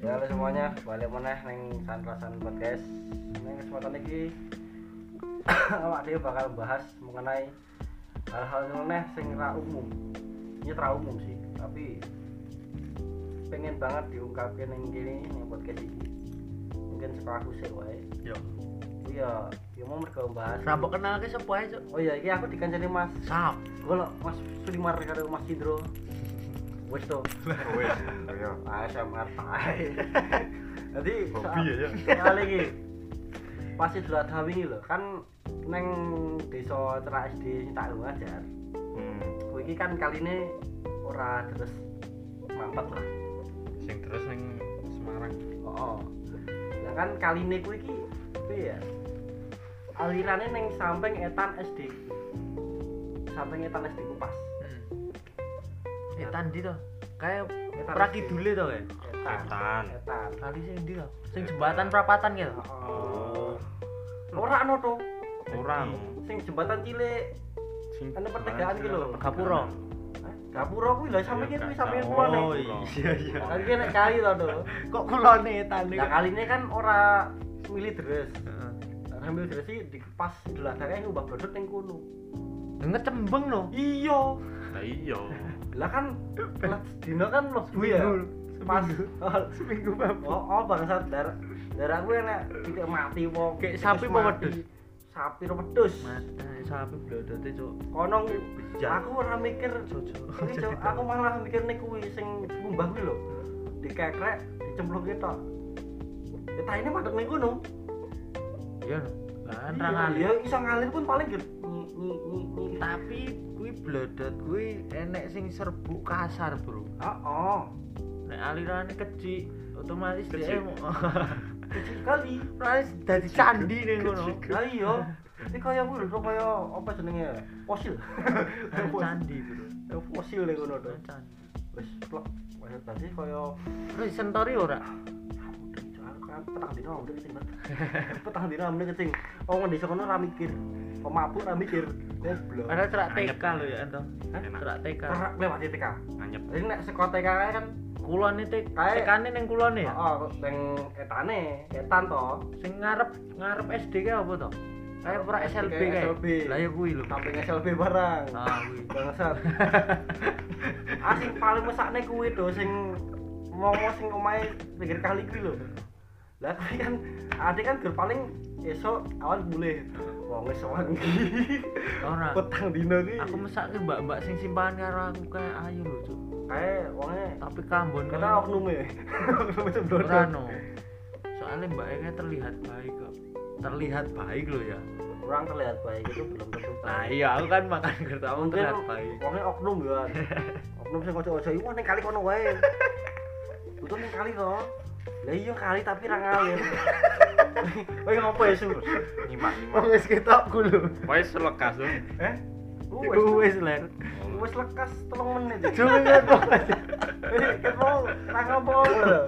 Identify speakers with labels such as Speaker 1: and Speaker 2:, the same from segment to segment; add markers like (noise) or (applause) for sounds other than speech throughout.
Speaker 1: Ya, semuanya balik meneh neng sanrasan podcast neng kesempatan ini (coughs) awak dewe bakal bahas mengenai hal-hal yang aneh sing ra umum ini ra umum sih tapi pengen banget diungkapin neng kene neng podcast ini mungkin saka aku sih wae
Speaker 2: Yo.
Speaker 1: Kuwi ya ya mau mergo bahas
Speaker 2: Sambok kenal ke sapa ae, Cuk?
Speaker 1: oh iya iki aku dikancani Mas
Speaker 2: Sap.
Speaker 1: golok Mas Sulimar karo Mas Indro wis to
Speaker 2: Oh, iya. (laughs)
Speaker 3: Wes, ya.
Speaker 1: ASMR
Speaker 3: (laughs)
Speaker 1: tae. Jadi
Speaker 3: Hobi ya, ya.
Speaker 1: soal iki. Pas Idul Adha wingi lho, kan neng desa cerak SD sing tak ngajar.
Speaker 3: Hmm,
Speaker 1: Kuwi iki kan kaline ora terus mampet lah.
Speaker 2: Sing terus ning Semarang.
Speaker 1: Oh. Lah kan kaline kuwi iki piye ya? Alirane neng samping etan SD. Samping etan SD ku pas.
Speaker 2: Eh tandi to. Kayak
Speaker 1: Etan
Speaker 2: prakidule to kae.
Speaker 1: Etan.
Speaker 3: Etan.
Speaker 1: Etan.
Speaker 2: Kali sing ndi to? Sing jembatan perapatan gitu.
Speaker 1: Oh. Ora ono to.
Speaker 3: Orang.
Speaker 1: Sing jembatan cilik
Speaker 3: Sing-
Speaker 1: Anu pertigaan ki lho.
Speaker 2: Gapura.
Speaker 1: Hah? Gapura kuwi lho sampe
Speaker 3: Iya,
Speaker 1: kene kuwi
Speaker 3: Kak.
Speaker 1: sampe
Speaker 3: Oh,
Speaker 1: kulone.
Speaker 3: iya, iya.
Speaker 1: Kan iki nek kali to, Dok.
Speaker 2: (laughs) Kok kulone tani?
Speaker 1: Lah kaline kan ora milih deres.
Speaker 2: Heeh.
Speaker 1: Ambil deres iki di pas Idul Adha kae ngubah blodot ning kono.
Speaker 2: Denger cembeng no.
Speaker 1: Iya.
Speaker 3: Lah iya.
Speaker 1: Lah kan lah dino kan mlebu ya. Pas
Speaker 2: Iya. seminggu bapak.
Speaker 1: (laughs) oh, oh bangsat dar darah gue enak titik mati wong
Speaker 2: Kayak sapi
Speaker 1: Terus
Speaker 2: apa
Speaker 1: mati.
Speaker 2: wedhus?
Speaker 1: Sapi apa wedhus?
Speaker 2: Mata eh, sapi blodote, Cuk.
Speaker 1: Kono
Speaker 2: Bejat.
Speaker 1: aku ora mikir
Speaker 2: Cuk.
Speaker 1: Ini Cuk, aku malah mikir nih kuwi sing ngumbah kuwi lho. Dikekrek, dicemplung kita. Ya taine madhep ning kono.
Speaker 2: Iya. no. Lah
Speaker 1: Iya,
Speaker 2: ra ngali.
Speaker 1: Ya iso ngalir pun paling gitu. Nyi nyi nyi nyi.
Speaker 2: Tapi kuwi blodot kuwi enek sing serbuk kasar, Bro.
Speaker 1: Heeh.
Speaker 2: Nek alirannya kecil, otomatis dia
Speaker 3: Kecil.
Speaker 2: (laughs)
Speaker 1: Kecil kali.
Speaker 2: otomatis dari candi nih kono.
Speaker 3: kecil.
Speaker 1: Lah iya. Ini kaya kuwi lho kaya apa jenenge? Fosil. (laughs)
Speaker 2: Dari candi bro.
Speaker 1: Eh, Fosil ning kono to.
Speaker 2: Dari candi.
Speaker 1: Wis plek. Wah, tadi kaya ah,
Speaker 2: Terus disentori ora?
Speaker 1: kan petang dino udah kecing banget petang dino udah kecing oh ngendi kono ra mikir pemabuk ra mikir goblok
Speaker 2: Ada cerak
Speaker 3: Anyep.
Speaker 2: TK lho ya ento.
Speaker 1: Hah?
Speaker 3: Enak.
Speaker 2: Cerak TK.
Speaker 1: Ora lewat TK.
Speaker 3: Anyep.
Speaker 1: Jadi nek saka TK kae kan
Speaker 2: Kulone TK.
Speaker 1: Kayak-
Speaker 2: TK-ne ning kulone ya.
Speaker 1: oh ning etane, etan to.
Speaker 2: Sing ngarep ngarep SD kae apa to? Kayak
Speaker 1: Ngarep
Speaker 2: pra
Speaker 1: SD
Speaker 2: SLB
Speaker 1: kayak
Speaker 2: kae.
Speaker 1: SLB.
Speaker 2: Lah ya kuwi lho.
Speaker 1: Samping SLB barang.
Speaker 2: Ah kuwi.
Speaker 1: Bangsat. ah sing paling mesakne kuwi do sing momo sing omahe pinggir kali kuwi lho. Lah kuwi kan adik kan gur paling esok awan boleh. Wong wis wangi.
Speaker 2: Ora.
Speaker 1: Petang dino iki.
Speaker 2: Aku mesake mbak-mbak sing simpahan karo aku kae ayo lho, Cuk.
Speaker 1: kae wonge
Speaker 2: Tapi kambon
Speaker 1: kita
Speaker 2: koyo-
Speaker 1: oknume. (laughs) Oknume sembrono.
Speaker 2: Ora no. Soalnya Mbak Eka terlihat baik kok. Terlihat baik loh ya.
Speaker 1: Kurang terlihat baik itu belum tentu.
Speaker 2: Nah
Speaker 1: baik.
Speaker 2: iya aku kan makan gertamu
Speaker 1: mungkin
Speaker 2: terlihat baik.
Speaker 1: wonge oknum ya oknum sing ojo-ojo iku ning kali kono wae itu ning kali to lah iya kali tapi ra ngalir Woi ngopo ya Su?
Speaker 3: Nyimak, nyimak.
Speaker 1: (laughs)
Speaker 2: Wong wis ketok ku lho.
Speaker 3: Wes lekas tuh.
Speaker 1: Eh?
Speaker 2: Iku
Speaker 1: Wis
Speaker 2: wis ler.
Speaker 1: wis lekas 3 menit. iki.
Speaker 2: Cuma kan
Speaker 1: Eh, Kepo, ra ngopo. lho.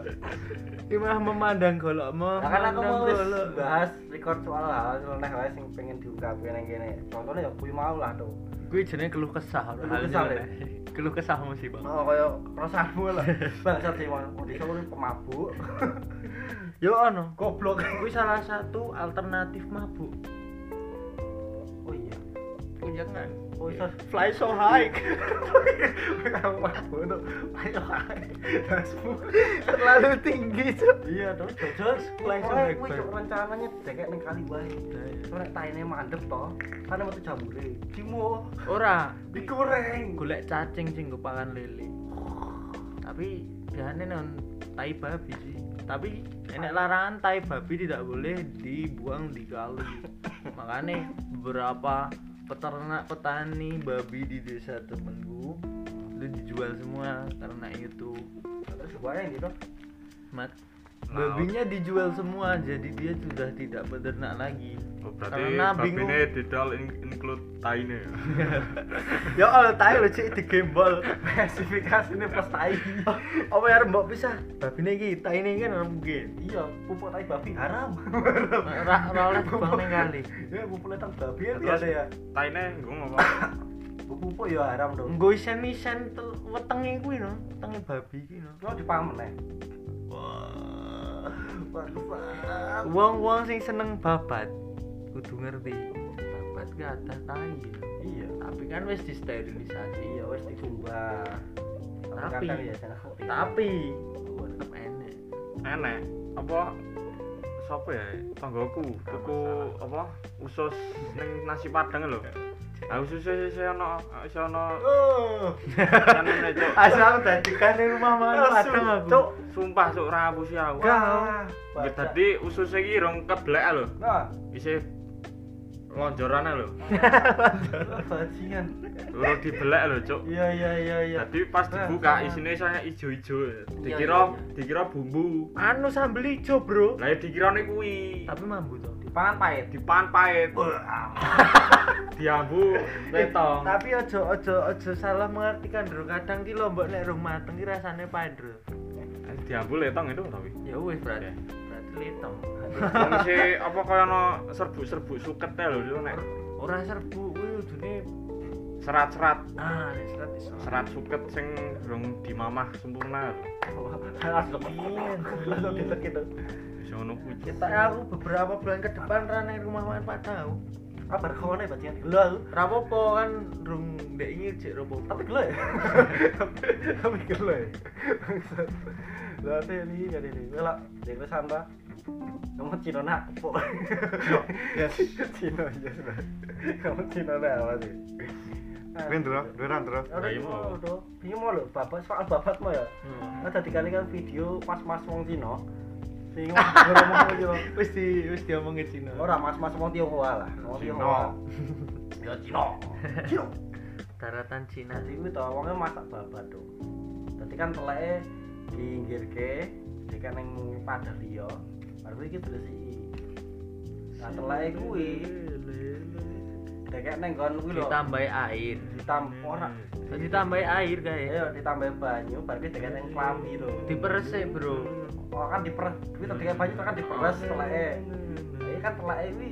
Speaker 2: Imah memandang golokmu.
Speaker 1: Lah kan aku mau
Speaker 2: memandang
Speaker 1: wis
Speaker 2: golok.
Speaker 1: bahas record soal hal seleneh wae sing pengen diungkapin nang kene. Contohnya ya kuwi mau lah tuh.
Speaker 2: Kuwi jenenge keluh kesah.
Speaker 1: Keluh
Speaker 2: hal
Speaker 1: kesah,
Speaker 2: jenenge. Keluh kesah musibah.
Speaker 1: Oh kaya perasaanmu lah. Bangsat sih wong di sore (laughs) pemabuk.
Speaker 2: Yo ono.
Speaker 1: Goblok.
Speaker 2: Kuwi salah satu alternatif mabuk.
Speaker 1: Oh iya.
Speaker 2: Punya kan.
Speaker 1: Oh iya.
Speaker 2: Fly so high.
Speaker 1: kamu mabuk tuh ayo dasmu
Speaker 2: Terlalu tinggi, Cuk.
Speaker 1: iya terus jojo
Speaker 2: Mulai
Speaker 1: mulai
Speaker 2: sobek,
Speaker 1: kuwi
Speaker 2: Bang.
Speaker 1: cok rencananya dekek ning kali wae nek taine mandep to kan metu jambure dimo
Speaker 2: Ora,
Speaker 1: digoreng
Speaker 2: golek cacing sing nggo pangan lele. Tapi biasanya non tai babi sih. Tapi enek larangan tai babi tidak boleh dibuang di
Speaker 3: (laughs)
Speaker 2: kali. Makanya beberapa peternak petani babi di desa temenku itu dijual semua karena itu
Speaker 1: terus wae gitu
Speaker 2: mat
Speaker 3: Laut.
Speaker 2: babinya dijual semua jadi dia sudah tidak beternak lagi
Speaker 3: Oh, berarti
Speaker 2: karena bingung
Speaker 3: babine didol in- include taine. ya?
Speaker 1: Iya,
Speaker 2: ya Allah tai lo cik
Speaker 3: (laughs)
Speaker 2: digembol
Speaker 1: spesifikasine plus tai
Speaker 2: apa ya mbok pisah babine iki taine iki kan ora mungkin
Speaker 1: iya pupuk tai babi haram
Speaker 2: ra ra oleh bang ning kali
Speaker 1: ya pupuk tai babi ya
Speaker 3: Terus
Speaker 1: biasa ya
Speaker 3: taine gue
Speaker 1: (laughs)
Speaker 3: ngomong.
Speaker 1: pupuk ya haram dong
Speaker 2: nggo isen-isen tel- wetenge kuwi no wetenge babi iki no
Speaker 1: lo dipamen ya
Speaker 2: wah
Speaker 1: mantap
Speaker 2: Wong-wong sing seneng babat kudu ngerti. Babat gak ada tai.
Speaker 1: iya
Speaker 2: Tapi kan wis disterilisasi.
Speaker 1: iya wes dikumbah
Speaker 2: Tapi-
Speaker 1: kadang ya jangan kopi.
Speaker 2: Tapi Oh, tetep enek.
Speaker 3: enek apa siapa ya tanggoku tuku apa usus ning nasi padang lho ah ususnya sih ono sih ono
Speaker 1: Oh,
Speaker 3: kan ini, Cuk.
Speaker 2: Asal Ah, dadi kan rumah makan
Speaker 1: Asu,
Speaker 2: padang aku.
Speaker 1: Cuk.
Speaker 3: sumpah cuk rabu sih aku
Speaker 1: Wah,
Speaker 3: Ya,
Speaker 1: baca.
Speaker 3: tadi ususnya iki rong keblek lho
Speaker 1: Nah,
Speaker 3: isi lonjoran lho
Speaker 1: bajingan.
Speaker 3: urung dibelek lho cuk
Speaker 1: Iya iya iya iya.
Speaker 3: Jadi pas
Speaker 1: Nah,
Speaker 3: dibuka
Speaker 1: sama.
Speaker 3: isinya saya ijo-ijo. Dikira
Speaker 1: iya, iya.
Speaker 3: dikira bumbu.
Speaker 2: Anu sambel ijo, Bro.
Speaker 3: Lah ya dikirane kuwi.
Speaker 2: Tapi mambu to.
Speaker 1: Pangan pahit.
Speaker 3: Dipan pahit, diambu wetong.
Speaker 2: Tapi ojo ojo ojo salah mengartikan, Bro. Kadang ki lombok nek rumah mateng ki rasane pahit, Bro.
Speaker 3: Eh, Diambu letong itu tapi.
Speaker 2: Ya wis berarti. Berarti letong.
Speaker 3: Wong si apa kaya ono serbuk-serbuk suket ya lho itu nek
Speaker 2: Ora serbu kuwi kudune
Speaker 3: serat-serat
Speaker 2: ah nek serat (laughs) iso.
Speaker 3: serat suket sing rong dimamah sempurna lho.
Speaker 1: Langsung langsung gitu gitu.
Speaker 3: Wis ngono kuwi. Cuk.
Speaker 2: Kita Ya, aku beberapa bulan ke depan rane rumah makan padang. aku.
Speaker 1: Kabar kau nih bajingan gelo aku.
Speaker 2: Rapopo kan rung ndek ingin jek rapopo.
Speaker 1: Tapi gelo ya. (laughs) Tapi gelo
Speaker 2: eh.
Speaker 1: ya. Bangsat. Lah teh ini kan ini. Wala, dia ke sampah. Kamu Cino nak, po. (laughs) Yes. Cino yes. Bro. Kamu Cino nak apa sih? Nah, ya,
Speaker 4: Win bro, duran bro.
Speaker 1: Ora
Speaker 3: Ayo, mau.
Speaker 1: mau to. Piye mau lho, bapak soal babat mau ya.
Speaker 2: Hmm.
Speaker 1: Nah, tadi kali kan video mas-mas wong Cina sing ngomong yo.
Speaker 2: Wis di wis diomongin Cina.
Speaker 1: Ora mas-mas wong Tionghoa lah, wong
Speaker 4: Cina.
Speaker 1: Tionghoa. (laughs) Ya Cina. Cina.
Speaker 2: Daratan Cina.
Speaker 1: Dadi kuwi to wonge masak babat to. Dadi kan teleke diinggirke, dikene ning padha liya. Baru iki dilesiki. Nah, teleke kuwi dekek ning nggon kuwi lho.
Speaker 2: Ditambahi air.
Speaker 1: Ditam ora.
Speaker 2: Ditambahi air kae.
Speaker 1: Ayo ditambah banyu, baru iki dekek ning klambi to.
Speaker 2: Diperesik, Bro.
Speaker 1: Oh kan diperes, kuwi tadi banyu to kan diperes teleke. Ini kan teleke kuwi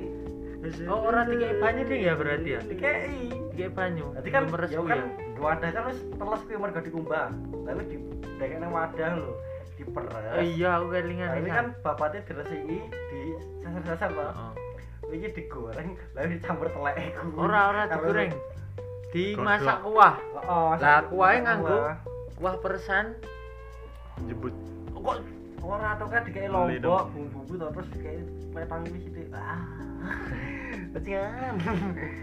Speaker 2: Oh, ora dikei banyu ding ya berarti ya.
Speaker 1: dikeki.
Speaker 2: Dikei banyu.
Speaker 1: Berarti kan
Speaker 2: Diperes
Speaker 1: ya
Speaker 2: kuwi
Speaker 1: kan
Speaker 2: ya.
Speaker 1: wadah kan wis teles kuwi mergo dikumbah. Lalu di dekek nang wadah lho, diperes.
Speaker 2: Oh, Iya, aku kelingan.
Speaker 1: Lalu
Speaker 2: pisan.
Speaker 1: kan bapaknya diresiki di sasar-sasar Pak.
Speaker 2: Heeh.
Speaker 1: Iki digoreng, lalu dicampur telek iku.
Speaker 2: Ora ora
Speaker 1: Kalau-
Speaker 2: digoreng. Dimasak
Speaker 3: Godok.
Speaker 2: kuah.
Speaker 1: Heeh.
Speaker 2: Lah, kuahnya nganggo. Kuah peresan.
Speaker 3: Jebut
Speaker 2: Kok
Speaker 1: Ora to kan dikei
Speaker 3: Beli
Speaker 1: lombok, bumbu-bumbu to, terus dikei petang iki sithik. Ah. Bajingan.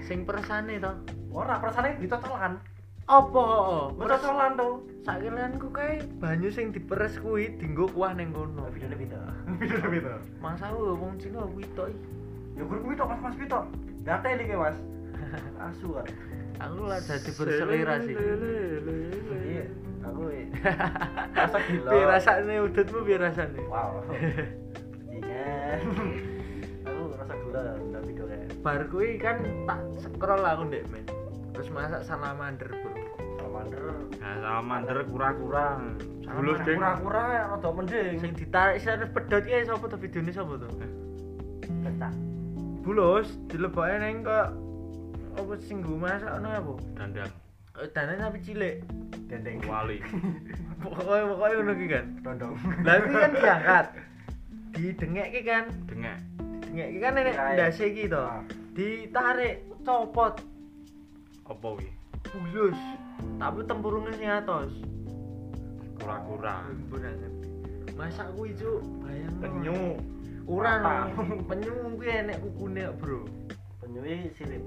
Speaker 2: sing peresane to?
Speaker 1: Ora persane ditotolan.
Speaker 2: Apa? Peres
Speaker 1: Ditotolan to.
Speaker 2: sakilanku kae banyu sing diperes kuwi dienggo kuah ning kono.
Speaker 1: Videone pito. (laughs) Videone pito.
Speaker 2: Masa lu wong Cina kuwi tok iki.
Speaker 1: Ya guru kuwi tok Mas-mas pito. Date iki Mas. Asu kan.
Speaker 2: Aku lah dadi berselera sih.
Speaker 1: Iya, aku rasa gila.
Speaker 2: Piye rasane udutmu piye rasane?
Speaker 1: Wow. Ingat. aku rasa gila dalam video kayak
Speaker 2: Bar kuwi kan tak scroll aku ndek men. Terus masak salamander, Bro.
Speaker 1: salamander.
Speaker 3: Nah, salamander kura-kura. Bulus
Speaker 1: Salamander
Speaker 3: ding.
Speaker 1: Kura-kura ya rada mending.
Speaker 2: Sing ditarik sana pedot iki sapa to videone sapa to?
Speaker 1: Kecak.
Speaker 2: Bulus dilebokke neng kok apa sing nggo masak ono apa?
Speaker 3: Dandang
Speaker 2: Eh, Dane tapi cilik.
Speaker 1: Dendeng.
Speaker 3: wali.
Speaker 2: Pokoknya pokoknya ngono ki kan.
Speaker 1: Dondong.
Speaker 2: Lah iki kan diangkat. Didengekke kan.
Speaker 3: Dengek.
Speaker 2: Didengekke kan nenek
Speaker 1: Diraik.
Speaker 2: ndase iki to.
Speaker 1: Ah.
Speaker 2: Ditarik, copot,
Speaker 3: Apa kuwi?
Speaker 2: bulus. Tapi tempurungnya sing atos.
Speaker 3: Kura-kura.
Speaker 2: Aku ora ngerti. Masa kuwi cuk, bayang.
Speaker 4: Penyu.
Speaker 2: Ora
Speaker 1: Apa?
Speaker 2: no. penyu kuwi enek kukune kok, Bro.
Speaker 1: Penyuwi sirip.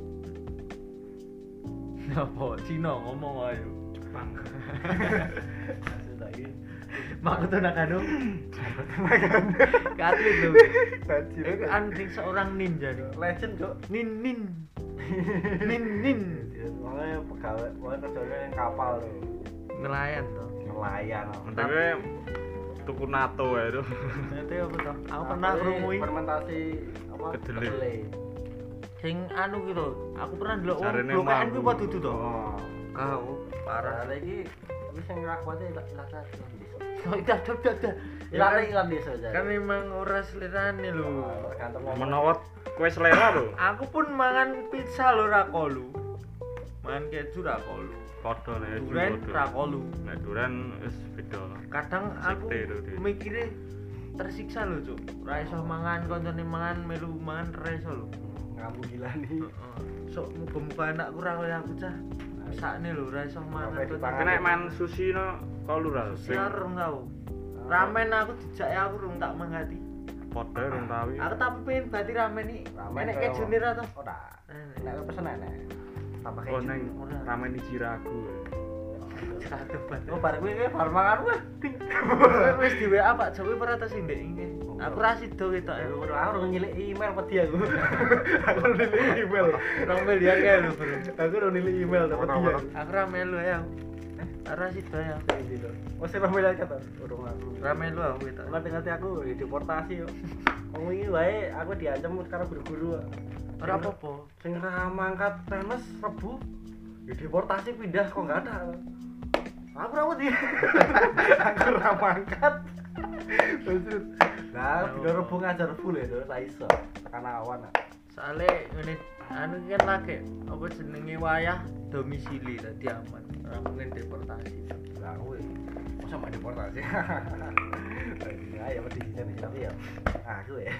Speaker 2: Napa Cina ngomong ayo.
Speaker 1: Asli tak ini.
Speaker 2: Makoto Nakano. Katlit lho. Iku anjing seorang ninja nih.
Speaker 1: Eh, Legend, Cuk.
Speaker 2: Nin nin. Nin nin.
Speaker 1: Makanya pegawai, pokoknya kerjanya yang kapal tuh
Speaker 2: Nelayan to.
Speaker 1: Nelayan oh.
Speaker 3: Mentewe tuku nato ya itu.
Speaker 2: Nanti apa toh? Aku
Speaker 1: Nah,
Speaker 2: pernah
Speaker 1: tapi
Speaker 2: ngrungui
Speaker 1: Fermentasi apa?
Speaker 3: Kedelai.
Speaker 2: sing anu ki lho. Aku pernah ndelok wong
Speaker 3: Jarene
Speaker 2: blokan
Speaker 3: mambu.
Speaker 2: Oh, kuwi padha dudu to.
Speaker 1: Oh.
Speaker 2: Kau
Speaker 1: Parah Nah, lagi. Wis yang ngelakuate lak lak lak desa.
Speaker 2: Oh,
Speaker 1: iya,
Speaker 2: dah dah dah dah.
Speaker 1: Lak lak ilang desa jadi.
Speaker 2: Kan memang ora selirane
Speaker 1: Oh,
Speaker 2: lho.
Speaker 1: tergantung ngomong.
Speaker 3: Menawa kue selera lho.
Speaker 2: Aku pun mangan pizza lho ra kolu. Mangan keju ra kolu.
Speaker 3: Podo nek ya,
Speaker 2: Duren
Speaker 3: podo.
Speaker 2: ra kolu.
Speaker 3: Nek duren wis beda.
Speaker 2: Kadang aku
Speaker 3: Sekte itu, Dit.
Speaker 2: mikire tersiksa lho cuk ra iso mangan koncone mangan melu mangan ra iso lho
Speaker 1: ngamu gila nih
Speaker 2: Heeh. sok muga-muga anakku ra kaya aku cah sakne lho ra iso mangan
Speaker 1: Sampai dipangan. Ah.
Speaker 2: koncone
Speaker 3: Kena main sushi no kau lu ras. Sing
Speaker 2: Saya rung tau ramen aku dijak aku rung tak mangati
Speaker 3: podo rung tawi.
Speaker 2: aku tak pengen berarti ramen iki
Speaker 1: Ramen
Speaker 2: enek
Speaker 1: kaya apa?
Speaker 2: kejune ra to
Speaker 1: ora enak pesen enak tambah
Speaker 3: Oh
Speaker 1: keju
Speaker 3: neng ramen iki ragu.
Speaker 2: satu
Speaker 1: (laughs)
Speaker 2: banget
Speaker 1: oh bar kuwi bar mangan wah
Speaker 2: Kowe wis di WA Pak Jokowi ora tas ndek iki.
Speaker 1: Oh,
Speaker 2: Aku ra sido ketok ya.
Speaker 1: Aku udah nyilik email peti aku. (laughs) Aku udah nyilik email.
Speaker 2: Rong miliar kae lho, Bro.
Speaker 1: Aku udah nyilik email tapi
Speaker 3: Orang-
Speaker 1: dia.
Speaker 3: orang.
Speaker 2: Aku ra melu ya. Eh, ora sido ya.
Speaker 1: Oh, sih email aja tuh. Udah aku.
Speaker 2: Ra melu aku ketok.
Speaker 1: Ngerti-ngerti aku ya deportasi yo. Wong iki wae aku diancam karena berguru.
Speaker 2: Ora apa-apa.
Speaker 1: Sing ra mangkat PNS Rebu ya deportasi pindah kok enggak ada. Aku ra wedi. (laughs) aku ra mangkat. Terus nah,
Speaker 2: Ya
Speaker 1: bila
Speaker 2: Allah.
Speaker 1: Rebu ngajar full ya, terus ra iso. Tekan awan. ah.
Speaker 2: Soale ngene anu iki kan lagi apa jenenge wayah domisili tadi aman. Ora mungkin deportasi.
Speaker 1: Lah kowe masa mbak deportasi. (laughs) Nah, ya mesti kita nih tapi ya. Aku (laughs) ya.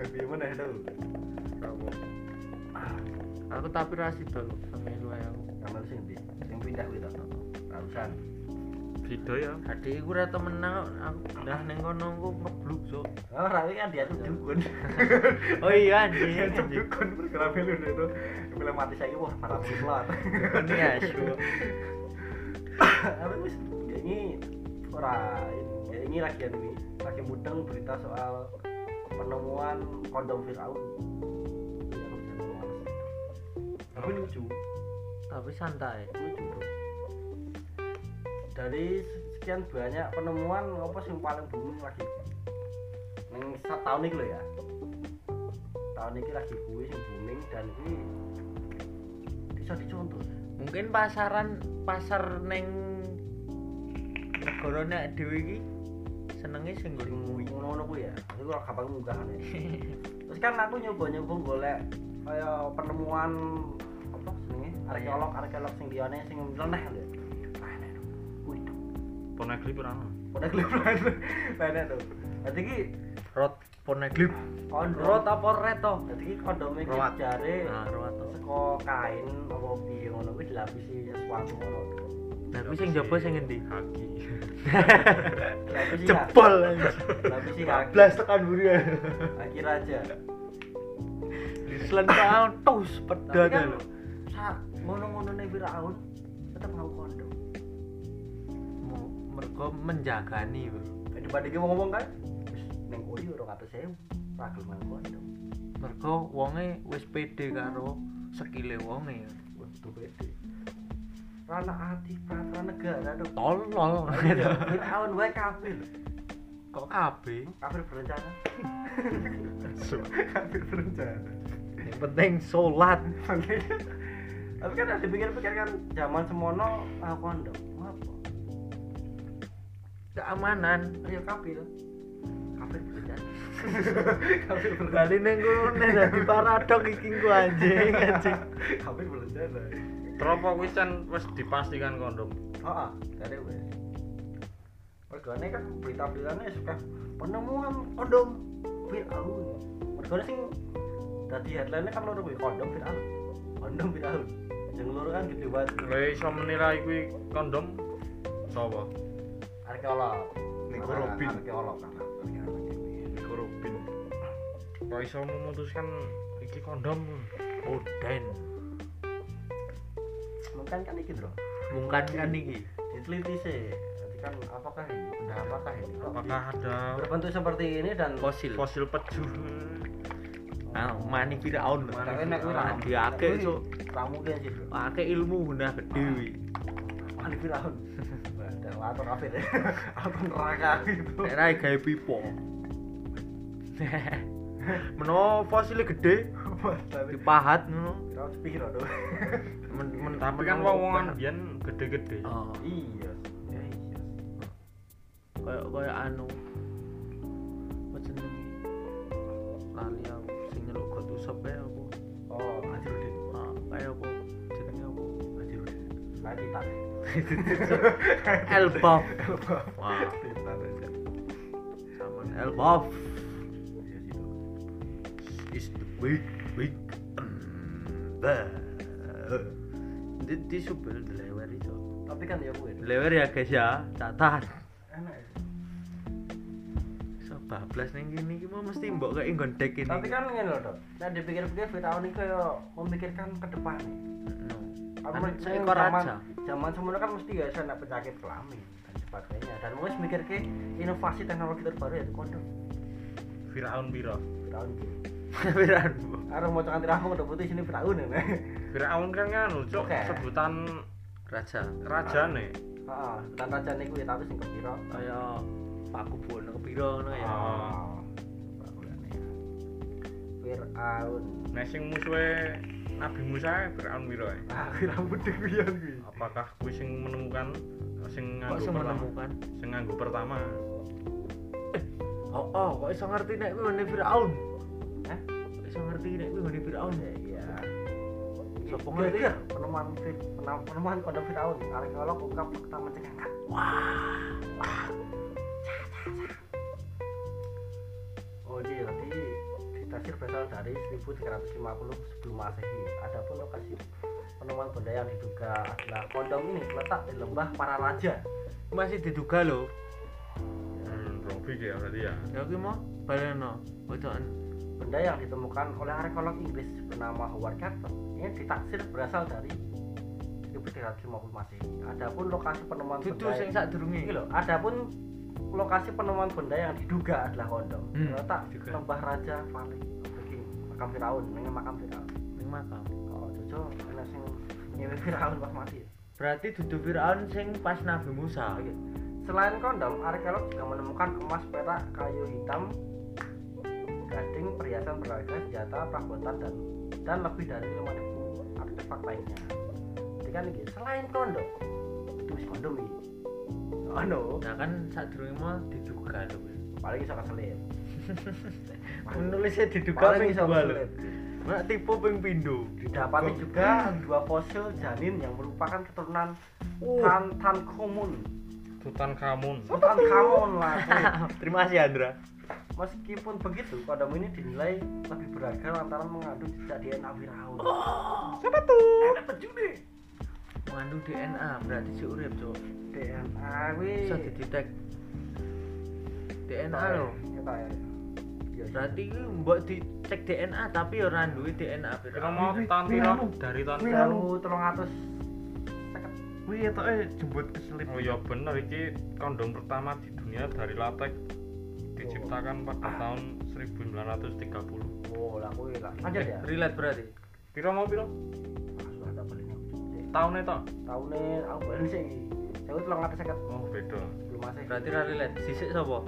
Speaker 1: Tapi mana itu? Ah,
Speaker 2: Ora apa-apa. Aku tapi ra sido lho, ra melu ya aku.
Speaker 1: Kamu sing ndi? Sing pindah kuwi to. Ratusan.
Speaker 3: Bido ya.
Speaker 2: Hadi iku ra temenan aku pindah ning kono aku ngebluk cuk.
Speaker 1: Oh, Rawi kan dia dukun.
Speaker 2: Oh iya
Speaker 1: (laughs)
Speaker 2: anjing.
Speaker 1: Dia
Speaker 2: anjing.
Speaker 1: dukun bergerak melu dia tuh. Bila mati saya wah para muslat.
Speaker 2: Ini ya, syuk.
Speaker 1: (laughs) Tapi wis dia ini ora dia ini lagi anu ini lagi mudeng berita soal penemuan kondom Firaun. Iya, aku jadi males. Tapi lucu.
Speaker 2: Tapi santai.
Speaker 1: Lucu, Bro. dari sekian banyak penemuan apa sih yang paling booming lagi neng tahun ini lho ya tahun ini lagi gue yang booming dan ini bisa dicontoh
Speaker 2: mungkin pasaran pasar neng negara nek dhewe iki senenge sing nggon nguwi
Speaker 1: ngono-ngono kuwi ya itu kalau gampang munggah kan ya. terus kan aku nyoba-nyoba golek kaya penemuan apa jenenge arkeolog arkeolog sing liyane sing leneh lho ya. Wah, enak tuh. Wih, tuh.
Speaker 3: Ponegri pirang.
Speaker 1: Padahal (laughs) kelihatan enak tuh berarti ki
Speaker 2: rot poneglip
Speaker 1: kondom
Speaker 2: rot apa red to
Speaker 1: berarti ki kondom iki
Speaker 2: Roat.
Speaker 1: jare
Speaker 2: nah rot to
Speaker 1: saka kain apa piye ngono kuwi dilapisi sesuatu ngono.
Speaker 2: tapi sing jaba sing endi
Speaker 3: Kaki.
Speaker 1: Dilapisi
Speaker 2: jebol
Speaker 1: kaki, dilapisi kaki.
Speaker 2: blas tekan buri ya
Speaker 1: Kaki raja.
Speaker 2: selendang tus
Speaker 1: Tapi kan
Speaker 2: pedot lho
Speaker 1: sak ngono-ngonone Firaun tetep nganggo kondom.
Speaker 2: mergo menjagani bro
Speaker 1: Kayak dibandingin ngomong kan wis ning koyo ora kate sewu, ra gelem nganggo kondom.
Speaker 2: mergo wonge wis pede karo skile wonge
Speaker 1: Waduh bete. Rana ati peraturan negara tuh.
Speaker 2: tolol Iya.
Speaker 1: Firaun wae kafir.
Speaker 2: kok kabeh
Speaker 1: Kafir berencana. (laughs) Kafir berencana.
Speaker 2: yang penting salat
Speaker 1: Tapi kan ada pikir-pikir kan zaman semono aku kondom. Apa?
Speaker 2: keamanan
Speaker 1: Rio Kapil Kapil berjalan Kapil berjalan
Speaker 2: Bali neng kene dadi paradok iki ku anjing anjing.
Speaker 1: Kapil berjalan
Speaker 3: Tropo kuwi kan wis dipastikan kondom.
Speaker 1: oh ah dari gue Mergane kan berita-beritanya suka penemuan kondom Fir'aun Mergane sing tadi headline kan loro kuwi kondom Fir'aun kondom Fir'aun yang loro kan gede banget
Speaker 3: Lha iso menilai kuwi kondom sapa?
Speaker 1: arkeolog
Speaker 3: Nico Robin.
Speaker 1: arkeolog kan arkeolog
Speaker 3: Nico Robin. Kok iso memutuskan iki kondom?
Speaker 2: Oden.
Speaker 1: mungkin kan iki bro
Speaker 2: Mungkin kan iki.
Speaker 1: diteliti sih Nanti kan apakah ini benda apakah ini Kok
Speaker 3: Apakah ada
Speaker 1: berbentuk seperti ini dan Oh,
Speaker 2: Fosil.
Speaker 3: fosil peju?
Speaker 2: Ah, mani Firaun.
Speaker 1: Tapi nek kuwi ra
Speaker 2: Mandi akeh
Speaker 1: kuwi
Speaker 2: cuk.
Speaker 1: ra mungkin sih, Bro.
Speaker 2: Pakai ilmu gunah gede wi.
Speaker 1: Mandi Firaun. Wadah, atur kafir. Atur neraka gitu.
Speaker 2: Nek ra gawe pipo. (laughs) Menowo fosilnya gede dipahat ngono.
Speaker 1: Firaun sepiro tuh.
Speaker 2: Men men
Speaker 3: Tapi kan wong-wongan biyen gede-gede.
Speaker 2: Oh,
Speaker 1: Iya. Ya, iya.
Speaker 2: koyo koyo anu. Apa jenenge? Lali aku sing nyeluk got usep ae aku.
Speaker 1: Oh, Ajrudin.
Speaker 2: Ah, kayak apa? Jenenge apa?
Speaker 1: Ajrudin. Kayak Titan.
Speaker 2: Elbow.
Speaker 1: Wah,
Speaker 2: Wah.
Speaker 1: Titan aja.
Speaker 2: sama ampun Elbaf is the big big ember di di subel dilewer itu
Speaker 1: tapi kan ya gue
Speaker 2: dilewer ya guys ya catat
Speaker 1: enak ya.
Speaker 2: so bablas ning gini iki mau mesti mbok kayak gondek ini
Speaker 1: tapi kan ngene lho dok nah dipikir-pikir Vitaon ini kayak memikirkan ke depan
Speaker 2: No. (laughs)
Speaker 1: Apa
Speaker 2: kan
Speaker 1: maksudnya
Speaker 2: seekor
Speaker 1: zaman-
Speaker 2: raja
Speaker 1: zaman semuanya kan mesti ya sana penyakit kelamin dan sebagainya dan mungkin mikir ke inovasi teknologi terbaru yaitu kondom
Speaker 3: Firaun piro?
Speaker 1: Vitaon gitu
Speaker 2: piran
Speaker 1: Arang mau cokan tirahmu udah putih sini Vitaon ya (laughs) nih
Speaker 3: Firaun kan nganu, cuk,
Speaker 1: Oke.
Speaker 3: sebutan
Speaker 2: raja
Speaker 3: rajane.
Speaker 1: ah dan raja nih gue tapi sing kepiro
Speaker 2: kaya paku bono kepiro ngono ya
Speaker 3: Ah.
Speaker 1: Ah, bakulannya ya. (laughs) Viraun
Speaker 3: Nek sing musuhe Nabi Musa Firaun piro? ae?
Speaker 1: ah Viraun budek pian gue
Speaker 3: Apakah kuwi sing menemukan sing
Speaker 2: kok iso
Speaker 3: nganggo pertama?
Speaker 2: menemukan
Speaker 3: Sing nganggo pertama.
Speaker 2: oh oh kok iso ngerti nek kuwi ngene Firaun Eh?
Speaker 1: Hah?
Speaker 2: Kok iso ngerti nek kuwi ngene Firaun
Speaker 1: ya iya
Speaker 2: Sopo ngerti?
Speaker 1: Kira-kira Iya, penemuan Fit- penem- penemuan kondom Vitaon arkeolog ungkap fakta mencengangkan Oh iya, berarti ditasir berasal dari 1350 sebelum masehi. Adapun lokasi penemuan benda yang diduga adalah kondom ini letak di lembah para raja.
Speaker 2: masih diduga lho
Speaker 3: Hmm, Robi ya berarti ya.
Speaker 2: ya kuwi mau baleno bocokan
Speaker 1: Benda yang ditemukan oleh arkeolog Inggris bernama Howard Carter ini ditaksir berasal dari 1350 masehi. Adapun lokasi penemuan
Speaker 2: dudu
Speaker 1: benda
Speaker 2: sing sadurunge
Speaker 1: ini loh. Adapun lokasi penemuan benda yang diduga adalah kondom
Speaker 2: Hmm,
Speaker 1: letak di
Speaker 3: diduga.
Speaker 1: lembah raja Valley. Oke, makam Firaun, ini makam Firaun.
Speaker 2: ning makam
Speaker 1: Oh, Jojo, enak sing nyewe Firaun pas mati. ya?
Speaker 2: berarti dudu Firaun sing pas Nabi Musa
Speaker 1: Oke. Selain kondom, arkeolog juga menemukan emas, perak, kayu hitam, gading, perhiasan berharga, senjata, perabotan dan dan lebih dari 5000 artefak lainnya. Jadi kan iki, selain kondom, itu wis kondom iya. iki. Oh no,
Speaker 2: nah kan sadurunge mau diduga lho kuwi.
Speaker 1: paling iso keselip. Anu,
Speaker 2: menulisnya diduga
Speaker 1: Paling
Speaker 2: ping
Speaker 1: iso
Speaker 2: dua lho
Speaker 1: keselip.
Speaker 2: nek tipu ping (laughs) pindho
Speaker 1: Didapati juga dua fosil janin yang merupakan keturunan
Speaker 2: Oh.
Speaker 1: Tan Tan Komun.
Speaker 3: Tutankhamun.
Speaker 1: Tan Kamon lah. kuy.
Speaker 2: terima kasih Andra
Speaker 1: Meskipun begitu, kondom ini dinilai lebih berharga lantaran mengandung jejak DNA Firaun.
Speaker 2: Oh. siapa tuh
Speaker 1: Enak banget juga.
Speaker 2: mengandung DNA berarti si urip cok
Speaker 1: DNA
Speaker 2: bisa
Speaker 1: wih.
Speaker 2: didetek DNA lho
Speaker 1: Kita ya. Ya,
Speaker 2: berarti ini mbok dicek DNA tapi ora duwe DNA
Speaker 3: Kira
Speaker 2: Firaun
Speaker 3: mau tahun piro
Speaker 4: anu,
Speaker 3: dari tahun
Speaker 1: ya. Baru 300 seket.
Speaker 2: wih etoke jembut
Speaker 4: anu.
Speaker 2: keselip
Speaker 3: Oh iya bener iki kondom pertama di dunia dari latex
Speaker 4: Oh.
Speaker 3: diciptakan pada tahun 1930.
Speaker 1: Oh, lah kuwi lah. Lanjut ya.
Speaker 2: Eh, relate berarti
Speaker 3: Piro mau piro?
Speaker 1: Ah, sudah tak beli nih.
Speaker 3: Tahunnya tok.
Speaker 1: Tahunnya aku beli sih. Saya itu 300 seket
Speaker 3: Oh beda.
Speaker 1: belum masih.
Speaker 2: berarti ra relate sisik sapa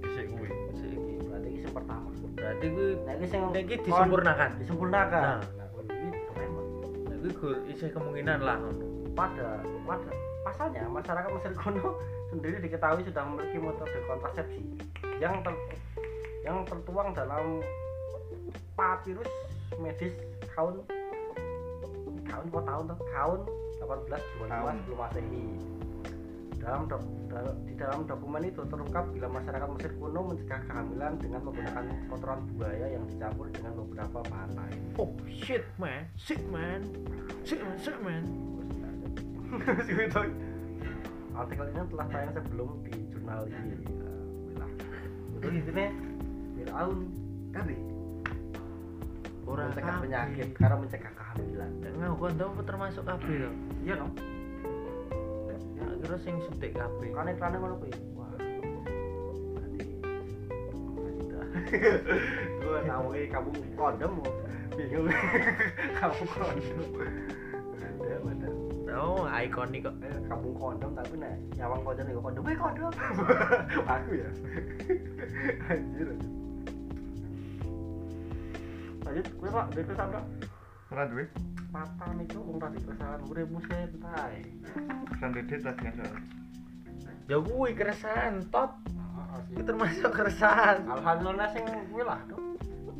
Speaker 3: Dhisik kuwi.
Speaker 2: sisik iki
Speaker 1: Berarti ini yang pertama.
Speaker 2: berarti kuwi
Speaker 1: Nah, ini yang
Speaker 2: Ini disempurnakan.
Speaker 1: Disempurnakan.
Speaker 2: Nah.
Speaker 1: Nah, kuwi ini keren banget.
Speaker 2: Nah, kuwi gur isih kemungkinan lah
Speaker 1: pada pada pasalnya masyarakat Mesir kuno (laughs) sendiri diketahui sudah memiliki metode kontrasepsi yang ter, yang tertuang dalam papirus medis kaun kaun kok tahun tuh kaun 1825
Speaker 3: Kaun.
Speaker 1: sebelum masehi dalam dok, dal- di dalam dokumen itu terungkap bila masyarakat Mesir kuno mencegah kehamilan dengan menggunakan kotoran buaya yang dicampur dengan beberapa bahan lain.
Speaker 2: oh shit man shit man shit man shit man
Speaker 1: artikel ini telah tayang sebelum di jurnal ini Wilah. Untuk intinya Fir'aun kami
Speaker 2: Ora
Speaker 1: mencegah
Speaker 2: kabeh.
Speaker 1: penyakit karena mencegah kehamilan.
Speaker 2: Nah, kondom termasuk kabeh to.
Speaker 1: Iya dong.
Speaker 2: Ya, kira sing suntik kabeh.
Speaker 1: Kan iklannya ngono kuwi. Wah. Berarti Gue tahu eh, kamu kondom kok. bingung. (laughs) kamu kondom. Ada ada.
Speaker 2: Oh, ikonik kok.
Speaker 1: Eh, kamu kondom tapi nek nyawang kondom ya kondom. Eh (laughs) kondom. Aku ya. Anjir. anjir. Lanjut, gue pak, dari kesan dong.
Speaker 4: Ora duwe,
Speaker 1: Mata nih tuh umrah di kesan, gue musim tay.
Speaker 4: pesan dedet lah kan.
Speaker 2: Ya kuwi keresahan top. Itu
Speaker 1: Alhamdulillah
Speaker 2: termasuk keresahan.
Speaker 1: sing gue lah tuh.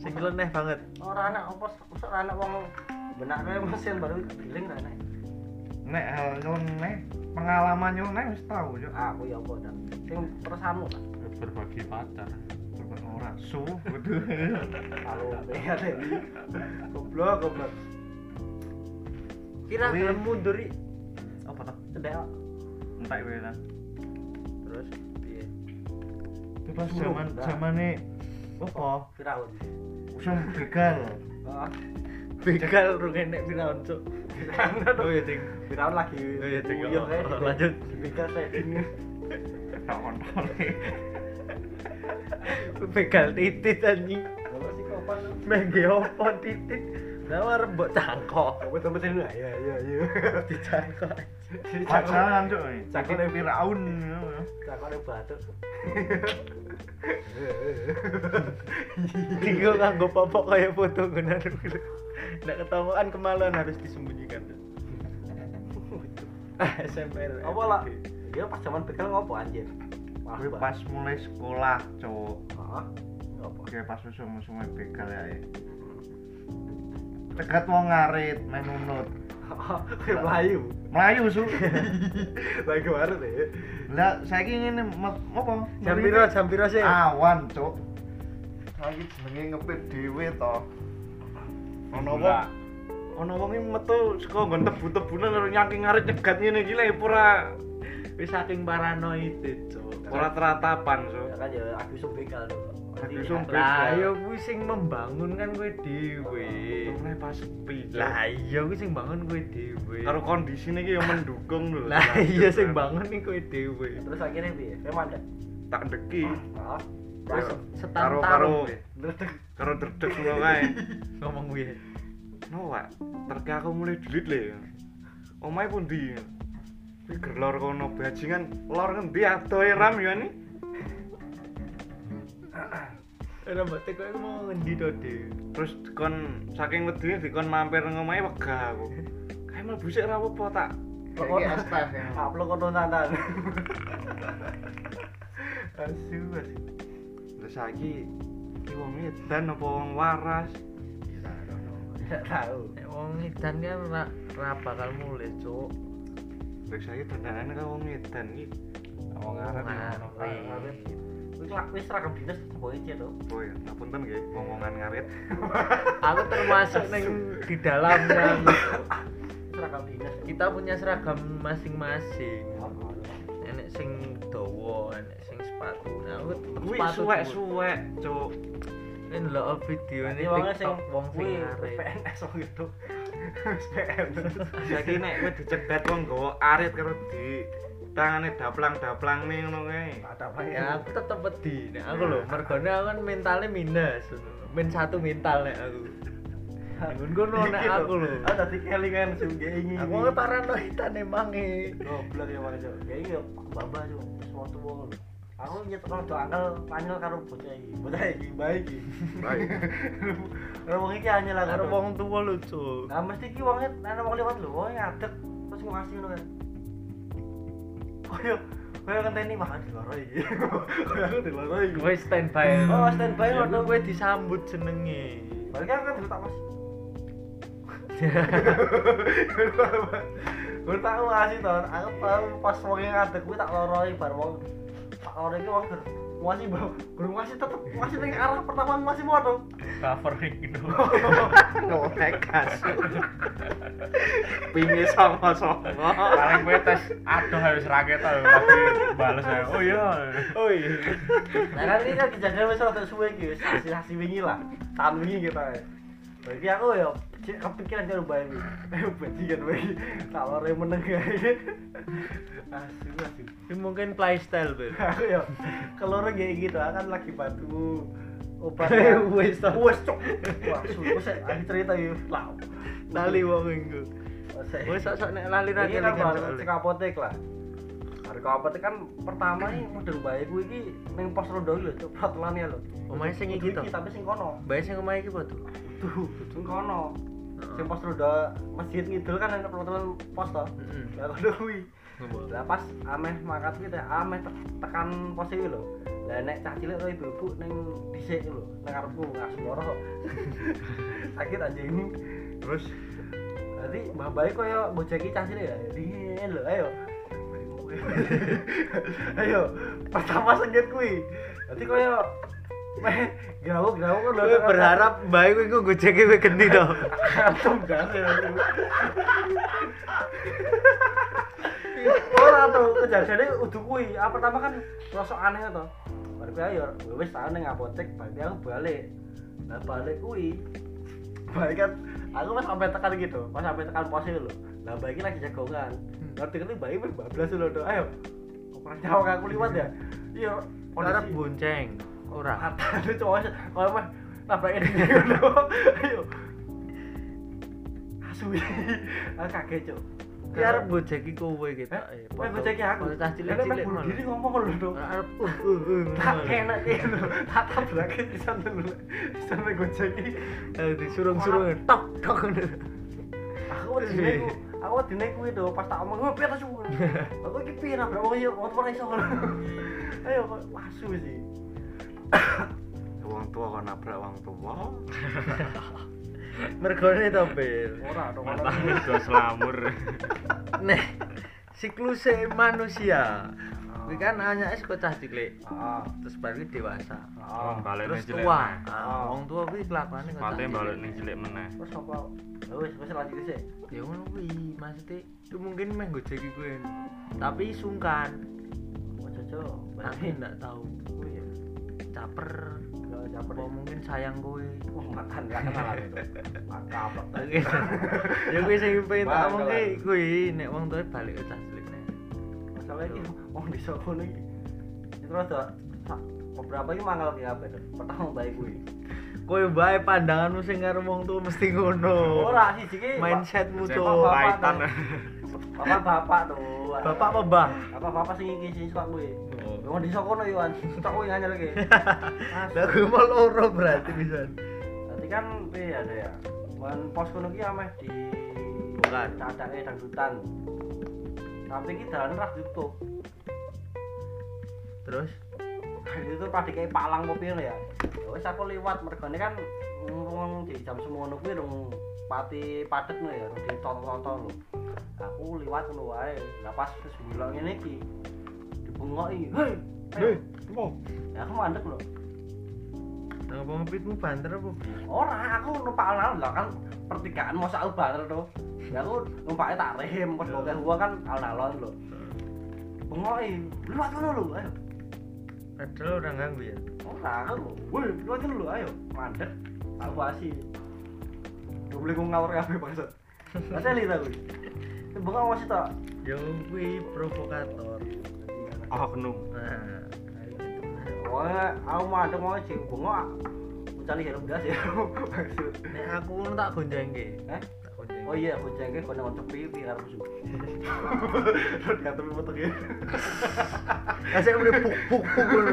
Speaker 2: Sing leneh banget.
Speaker 1: Orang anak apa, usah anak wong benaknya mesin baru giling rana.
Speaker 4: Nek hal nyeleneh, pengalaman nyeleneh wis tau yo.
Speaker 1: Aku ya apa dan sing terusanmu lah.
Speaker 3: Berbagi pacar.
Speaker 4: ora (laughs) su kudu
Speaker 1: kalau ya Dewi goblok goblok
Speaker 2: kira
Speaker 4: Wih.
Speaker 2: gelem mundur I.
Speaker 4: apa toh
Speaker 2: Cendek, kok.
Speaker 4: entek kowe ta
Speaker 2: terus piye
Speaker 4: itu pas
Speaker 1: Suruh,
Speaker 4: zaman
Speaker 1: enggak.
Speaker 4: zamane apa
Speaker 1: Firaun
Speaker 4: usum begal
Speaker 2: Oh.
Speaker 1: (laughs) Ah,
Speaker 2: begal rung enek piraon cuk oh iya ting
Speaker 1: Firaun lagi
Speaker 2: oh iya ting
Speaker 1: nguyuh, kayak.
Speaker 2: (laughs) lanjut
Speaker 1: Begal setting
Speaker 4: tak kontol
Speaker 2: begal titit anjing
Speaker 1: Kalau sih kopan
Speaker 2: mengge opo titit nawar mbok cangkok
Speaker 1: Kamu sampai sini lah
Speaker 2: Iya,
Speaker 1: ya ya ya (laughs)
Speaker 2: dicangkok
Speaker 4: pacaran cuk
Speaker 1: Cakep.
Speaker 4: cakep piraun
Speaker 1: Cakok ada batuk
Speaker 2: Tigo nganggo popok kayak foto gunaan dulu. Nggak ketahuan kemaluan harus disembunyikan. Ah, SMP lu.
Speaker 1: Apa lah Dia pas zaman begal ngopo anjir Wah,
Speaker 4: kowe
Speaker 1: Mbak.
Speaker 4: pas mulai sekolah cuk
Speaker 1: Ah,
Speaker 2: (laughs)
Speaker 1: Ngopo
Speaker 4: Oke pas usum usum begal ya cegat wong ngarit main nunut
Speaker 1: Ah, kayak Melayu
Speaker 4: melayu
Speaker 2: (laughs)
Speaker 4: su
Speaker 1: Lagi baru deh
Speaker 4: lah saya ingin apa
Speaker 2: Jam piro? Jam piro sih?
Speaker 4: awan cuk Ah, lagi jenenge ngepit dhewe to ono apa
Speaker 3: Ono wonge metu saka nggon tebu-tebunan karo nyaking ngarit nyegat ngene iki lho ora
Speaker 2: Wis saking paranoid itu.
Speaker 3: ora teratapan, so.
Speaker 1: Ya kan ya aku iso begal tuh Iya. Nanti
Speaker 3: Aku iso
Speaker 1: lihat.
Speaker 2: Lah yo kuwi sing membangun kan kowe dhewe.
Speaker 3: Mulai pas pi.
Speaker 2: Lah iya kuwi sing bangun kowe dhewe.
Speaker 3: karo kondisine iki ya mendukung lho.
Speaker 2: Lah iya sing bangun iki kowe dhewe.
Speaker 1: Terus akhirnya piye? Kayak mandek
Speaker 3: tak ndeki.
Speaker 1: Ah,
Speaker 2: Terus
Speaker 1: langsung.
Speaker 2: setan
Speaker 3: Karo karo
Speaker 2: karo
Speaker 1: Terus deg.
Speaker 3: karo derdek ngono kae.
Speaker 2: ngomong kuwi.
Speaker 3: No wak, terke aku mulai delit le. Omahe pundi? Kuwi gerlor kono bajingan lor ngendi adohe ram ya ni.
Speaker 2: Ora mbate kowe mau ngendi to, Dew?
Speaker 3: Terus kon saking wedine dikon mampir nang omahe wegah aku. Kae mlebu sik ra apa tak
Speaker 1: Pokoknya
Speaker 4: Kayak staff ya.
Speaker 1: Upload kono (laughs) nantan.
Speaker 4: asu asu
Speaker 3: Terus saiki iki wong edan apa wong waras?
Speaker 1: Tidak tahu.
Speaker 2: Nek wong edan kan ra, ra bakal mulih, Cuk.
Speaker 3: Terus saiki dandanane karo wong edan iki. Wong arep.
Speaker 2: Nah, Ngarit.
Speaker 1: Wis lah, wis seragam dinas boy cek to.
Speaker 3: Kowe ngapunten nggih, wong-wongan ngarit.
Speaker 2: Aku termasuk neng di dalamnya. gitu.
Speaker 1: Seragam dinas.
Speaker 2: Kita punya seragam masing-masing.
Speaker 1: Apa?
Speaker 2: Enek sing dawa, enek sing sepatu. Nah, aku tetep
Speaker 3: Kuwi
Speaker 2: sepatu. tuh.
Speaker 3: suwek-suwek, Cuk.
Speaker 2: Ini ndelok video ini
Speaker 1: Ini wongnya sing
Speaker 2: TikTok wong sing
Speaker 1: kuwi
Speaker 2: ngarit.
Speaker 1: PNS wong itu. Wis PM.
Speaker 3: Saiki nek kowe dicegat wong nggawa arit karo di tangane daplang-daplang ning ngono kae.
Speaker 1: Ada apa ya?
Speaker 2: Ya aku tetep wedi. Nek aku lho, mergone aku kan mentalnya minus. ngono lho. Min satu mental nek aku.
Speaker 1: Iya.
Speaker 2: Ngun kono nek aku lho.
Speaker 1: Ada di Ah, kelingan sungge ini.
Speaker 2: Aku nge paranoidan emang e.
Speaker 1: goblok ya Mas. Kayak ya baba yo semua tuwa lho. Aku nyetrol do angel panel karo bocah iki. Bocah iki baik
Speaker 2: (laughs)
Speaker 1: iki.
Speaker 3: Baik.
Speaker 1: Karo wong iki anyel aku
Speaker 2: Karo wong tuwa lho, Cuk.
Speaker 1: Nah mesti ki wonge ana wong liwat lho, wong ngadeg terus ngasi ngono Oh, iya. kan. Koyo koyo ngenteni makan di loro (laughs) iki. Koyo aku di loro iki.
Speaker 2: Gue standby.
Speaker 1: Oh, standby,
Speaker 2: Ya,
Speaker 1: waduh.
Speaker 2: gue disambut jenenge.
Speaker 1: Balik kan aku tak Mas. (laughs) Gue tak ngasih to, aku tau pas wonge ngadeg kuwi tak loro iki bar wong tak loro iki wong ger- ngasih bau. Gur ngasih tetep ngasih ning arah pertama ngasih mau dong.
Speaker 2: Covering gitu.
Speaker 3: ngorek kasut pinggir sama-sama
Speaker 4: paling gue tes aduh harus raket lho tapi bales aja oh iya
Speaker 2: Oi.
Speaker 1: Nah kan ini kan kejadian wis rada suwe iki wis sasi-sasi wingi lah. Tahun wingi kita. ya. Bagi aku ya cek kepikiran karo bae (laughs) iki. Eh bajingan bae iki. Tak lore meneng ae. (laughs) Asu asu.
Speaker 2: Ini mungkin playstyle, Bel.
Speaker 1: Aku ya keloro kayak gitu aku kan lagi batu obat.
Speaker 2: (laughs)
Speaker 1: ya.
Speaker 2: Eh, wis toh.
Speaker 1: Wis cok. Wah, suwe wis aku cerita yo. Lah. Oh,
Speaker 2: Lali wong iku. Gue sok-sok nek lali ra
Speaker 1: Ini kan
Speaker 2: kelingan
Speaker 1: baru
Speaker 2: soalnya.
Speaker 1: cek apotek lah. Harga apotek kan pertama ini model baik gue ini neng pos rondo lho, cok peraturannya lho.
Speaker 2: Omahe sing gitu. iki to.
Speaker 1: Iki, tapi sing kono.
Speaker 2: Bae sing omah iki apa tuh?
Speaker 1: Tuh, sing kono. Sing pos roda masjid ngidul kan ana peraturan pos to.
Speaker 2: Heeh.
Speaker 1: Lah kono kuwi. Lah pas ameh mangkat kuwi teh ameh te- tekan pos iki lho. Lah nek cah cilik karo ibu-ibu ning dhisik lho, ning karepku ngas loro. (laughs) Sakit anjing.
Speaker 3: terus
Speaker 1: Dadi mbah bae koyo bojeki cah cilik ya. Ringin lho, ayo. (laughs) Ayo, pertama sengit kuwi. Dadi koyo Grau-grau kan
Speaker 2: Kowe berharap baik kowe iku gojeke kowe geni to.
Speaker 1: antum gas ya. Ora to, kejadiane udu kuwi. Ah pertama kan rasa aneh to. Bar kuwi ayo wis tak ning apotek, berarti aku balik. Lah balik kuwi. Baik kan aku pas sampai tekan gitu, pas sampai tekan pos itu lho. Lah baik lagi jagongan. Ngerti-ngerti baik wis bablas lho to. Ayo. Kok jauh aku liwat ya? Iya,
Speaker 2: Ora
Speaker 1: kondisi-
Speaker 2: bonceng. Ora.
Speaker 1: Mata lu cowok kalau mah nabrakin (laughs) dia gitu. Ayo. Asui. Aku kaget, Cuk.
Speaker 2: Ki arep gojeki kowe gitu.
Speaker 1: Hah? Kowe gojeki aku.
Speaker 2: Cah
Speaker 1: Lah,
Speaker 2: cilik-cilik
Speaker 1: emang bunuh
Speaker 2: ngono.
Speaker 1: diri ngomong lho, Dok.
Speaker 2: Arep uh uh uh.
Speaker 1: Tak enak iki lho. Tak tabrake pisan lho. Pisan lho gojeki.
Speaker 2: uh, Disurung-surung tok tok ngono.
Speaker 1: Aku wedine iku. Aku wedine kuwi to pas tak omong, "Wah, piye ta, Cuk?" Aku iki piye nabrak wong yo motor iso. (laughs) Ayo kok asu sih.
Speaker 3: Wong tua kok nabrak wong tua.
Speaker 2: Mergone to, Bil.
Speaker 1: Ora dong.
Speaker 3: Mata udah selamur.
Speaker 2: Nih, sikluse manusia. Kuwi kan anake saka cah cilik,
Speaker 1: Heeh.
Speaker 2: terus bar kuwi dewasa.
Speaker 1: Heeh.
Speaker 3: Wong balik
Speaker 2: Terus
Speaker 3: ning cilik.
Speaker 2: tua.
Speaker 3: meneh.
Speaker 2: Ah, Wong tua kuwi kelakuane kok
Speaker 3: Mate
Speaker 2: cah
Speaker 3: balik
Speaker 2: cilik.
Speaker 3: ning cilik meneh.
Speaker 1: Terus apa? Ya wis, wis lanjut sih.
Speaker 2: Ya ngono kuwi, maksude itu mungkin meh gojeki kuwi. Tapi sungkan.
Speaker 1: Ojo, Cuk.
Speaker 2: Aku ndak tahu.
Speaker 1: Kuwi ya.
Speaker 2: Caper.
Speaker 1: Kalau caper
Speaker 2: Apa mungkin sayang kowe.
Speaker 1: Wah, makan gak kenal aku tuh. Makan apa?
Speaker 2: Oke. Ya kuwi sing pengen tak
Speaker 1: Bakal
Speaker 2: omong
Speaker 1: lah.
Speaker 2: ki kuwi nek wong tuwa balik ke cah cilik nek.
Speaker 1: Masalah ini wong desa kono iki. Ini Ya, Terus tuh tak- beberapa iki mangkel ki kabeh tuh. Pertama bae kuwi.
Speaker 2: Kowe bae pandanganmu sing karo wong tuwa mesti ngono.
Speaker 1: Ora siji ki.
Speaker 2: Mindsetmu
Speaker 1: Bapak-
Speaker 2: Oh, tuh.
Speaker 1: bapak
Speaker 3: Python.
Speaker 1: tuh. Bapak-bapak tuh.
Speaker 2: Bapak apa, Oh. Mbah?
Speaker 1: Bapak-bapak sing iki sing suka kuwi. Wong desa kono iki, Wan. Suka kuwi nganyel iki.
Speaker 2: (laughs) Lah gue mau loro berarti bisa.
Speaker 1: Berarti kan piye ada ya? Men pos kono ki ameh di
Speaker 2: Bukan.
Speaker 1: cadake dangdutan. Tapi ki dalane ras (laughs) tutup.
Speaker 2: Terus
Speaker 1: itu tuh pasti kayak palang kopi lho ya Ya wis aku liwat mergane kan ngomong di jam semono kuwi rung pati padet lho ya rung ditotol-totol lho aku liwat ngono wae lah pas wis ngilok ngene iki dibengoki hei hei ya aku mandek lho
Speaker 2: tangga pengepitmu banter apa? Bi?
Speaker 1: ora aku numpak alun-alun lah kan pertigaan masa aku banter tuh ya aku numpaknya tak rem pas ngomong gua kan alun-alun lho bengoki liwat ngono lho ayo
Speaker 2: Padahal orang ganggu ya.
Speaker 1: Ora aku lho. Woi, liwatin lho ayo. Mandek. Aku asi. Gak boleh gue ngawur kabeh bangsat. Masa li ta kuwi. Tembung awas itu.
Speaker 2: Yo kuwi provokator.
Speaker 3: Oknum.
Speaker 2: Nah, kayak gitu.
Speaker 1: Wah, aku mandek mau sing bengok. Mencari helm gas ya. (laughs) Bangsat.
Speaker 2: Nek aku ngono tak gonjengke.
Speaker 1: Eh?
Speaker 2: Tak gonjengke.
Speaker 1: Oh iya, aku jengke kono ngontok pipi karo musuh. Terus ngatur foto ya.
Speaker 2: Kasih muni puk puk puk ngono.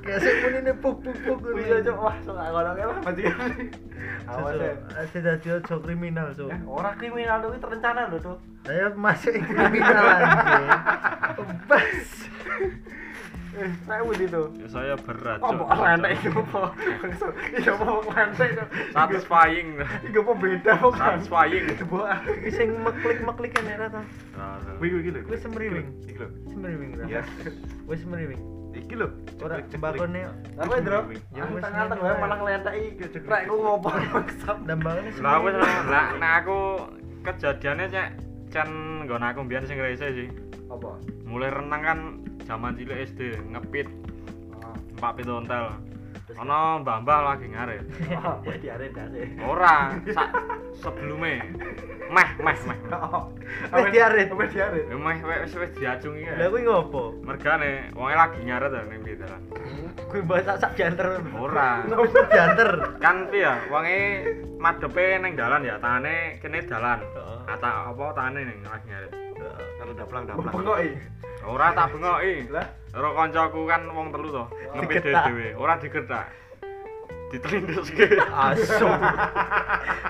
Speaker 2: Kasih muni ne puk puk puk ngono.
Speaker 1: Wis aja wah, sok gak ngono kae lah majikan. Awas ya.
Speaker 2: Asih dadi ojo kriminal, Cuk.
Speaker 1: Eh, Orang kriminal itu terencana loh tuh.
Speaker 2: Saya masuk kriminal anjing. Bas.
Speaker 1: Eh, saya udah itu.
Speaker 3: Ya, Saya berat.
Speaker 1: Oh,
Speaker 3: Cuk.
Speaker 1: bukan lantai itu apa? Iya, mau lantai itu.
Speaker 3: Satisfying.
Speaker 1: Iki apa beda kok kan?
Speaker 3: Satisfying.
Speaker 1: Buah.
Speaker 2: Iki sing meklik-meklik enek ra ta?
Speaker 3: Wih,
Speaker 4: iki lho.
Speaker 2: Wis semriwing.
Speaker 4: Iki lho.
Speaker 2: Semriwing ra.
Speaker 4: Yes.
Speaker 2: Wis semriwing.
Speaker 4: Iki lho.
Speaker 2: Ora
Speaker 4: Ceklik-ceklik.
Speaker 2: bakone
Speaker 1: Apa ya, Dro?
Speaker 2: Ya,
Speaker 1: Aku
Speaker 2: wes,
Speaker 1: tangan
Speaker 2: ngene
Speaker 1: tengah
Speaker 2: wae.
Speaker 1: malah ngelenteki Rek ku ngopo maksud.
Speaker 2: dambangane
Speaker 3: Lah wis
Speaker 2: semriwing.
Speaker 3: lah nek aku kejadiannya cek can nggon aku mbiyen sing rese sih.
Speaker 1: Apa?
Speaker 3: Mulai renang kan zaman cilik SD ngepit empat pit ontel. Ono mbah-mbah lagi ngarit.
Speaker 1: Oh, buat diare dase.
Speaker 3: Ora, sak sebelumnya meh meh meh.
Speaker 1: Oh.
Speaker 2: Wes diare.
Speaker 1: Apa diare?
Speaker 3: Ya, Meh weh, wis wis diacungi
Speaker 2: Lah
Speaker 3: ya.
Speaker 2: kuwi ngopo?
Speaker 3: Mergane wonge lagi ngarit ta ning pitaran.
Speaker 2: Kuwi mbok sak sak dianter.
Speaker 3: Ora.
Speaker 2: Ngopo sak dianter?
Speaker 3: Kan piye ya, wonge madepe ning dalan ya, tangane kene dalan. Ata apa tangane ning lagi ngarit.
Speaker 4: Kalau daplang daplang.
Speaker 1: Bengok iki.
Speaker 3: Ora tak bengoki.
Speaker 1: Lah,
Speaker 3: Karo kancaku kan wong telu to, ngepit
Speaker 2: Digetak.
Speaker 3: dhewe, ora digetak. Ditelinduske.
Speaker 2: Asu.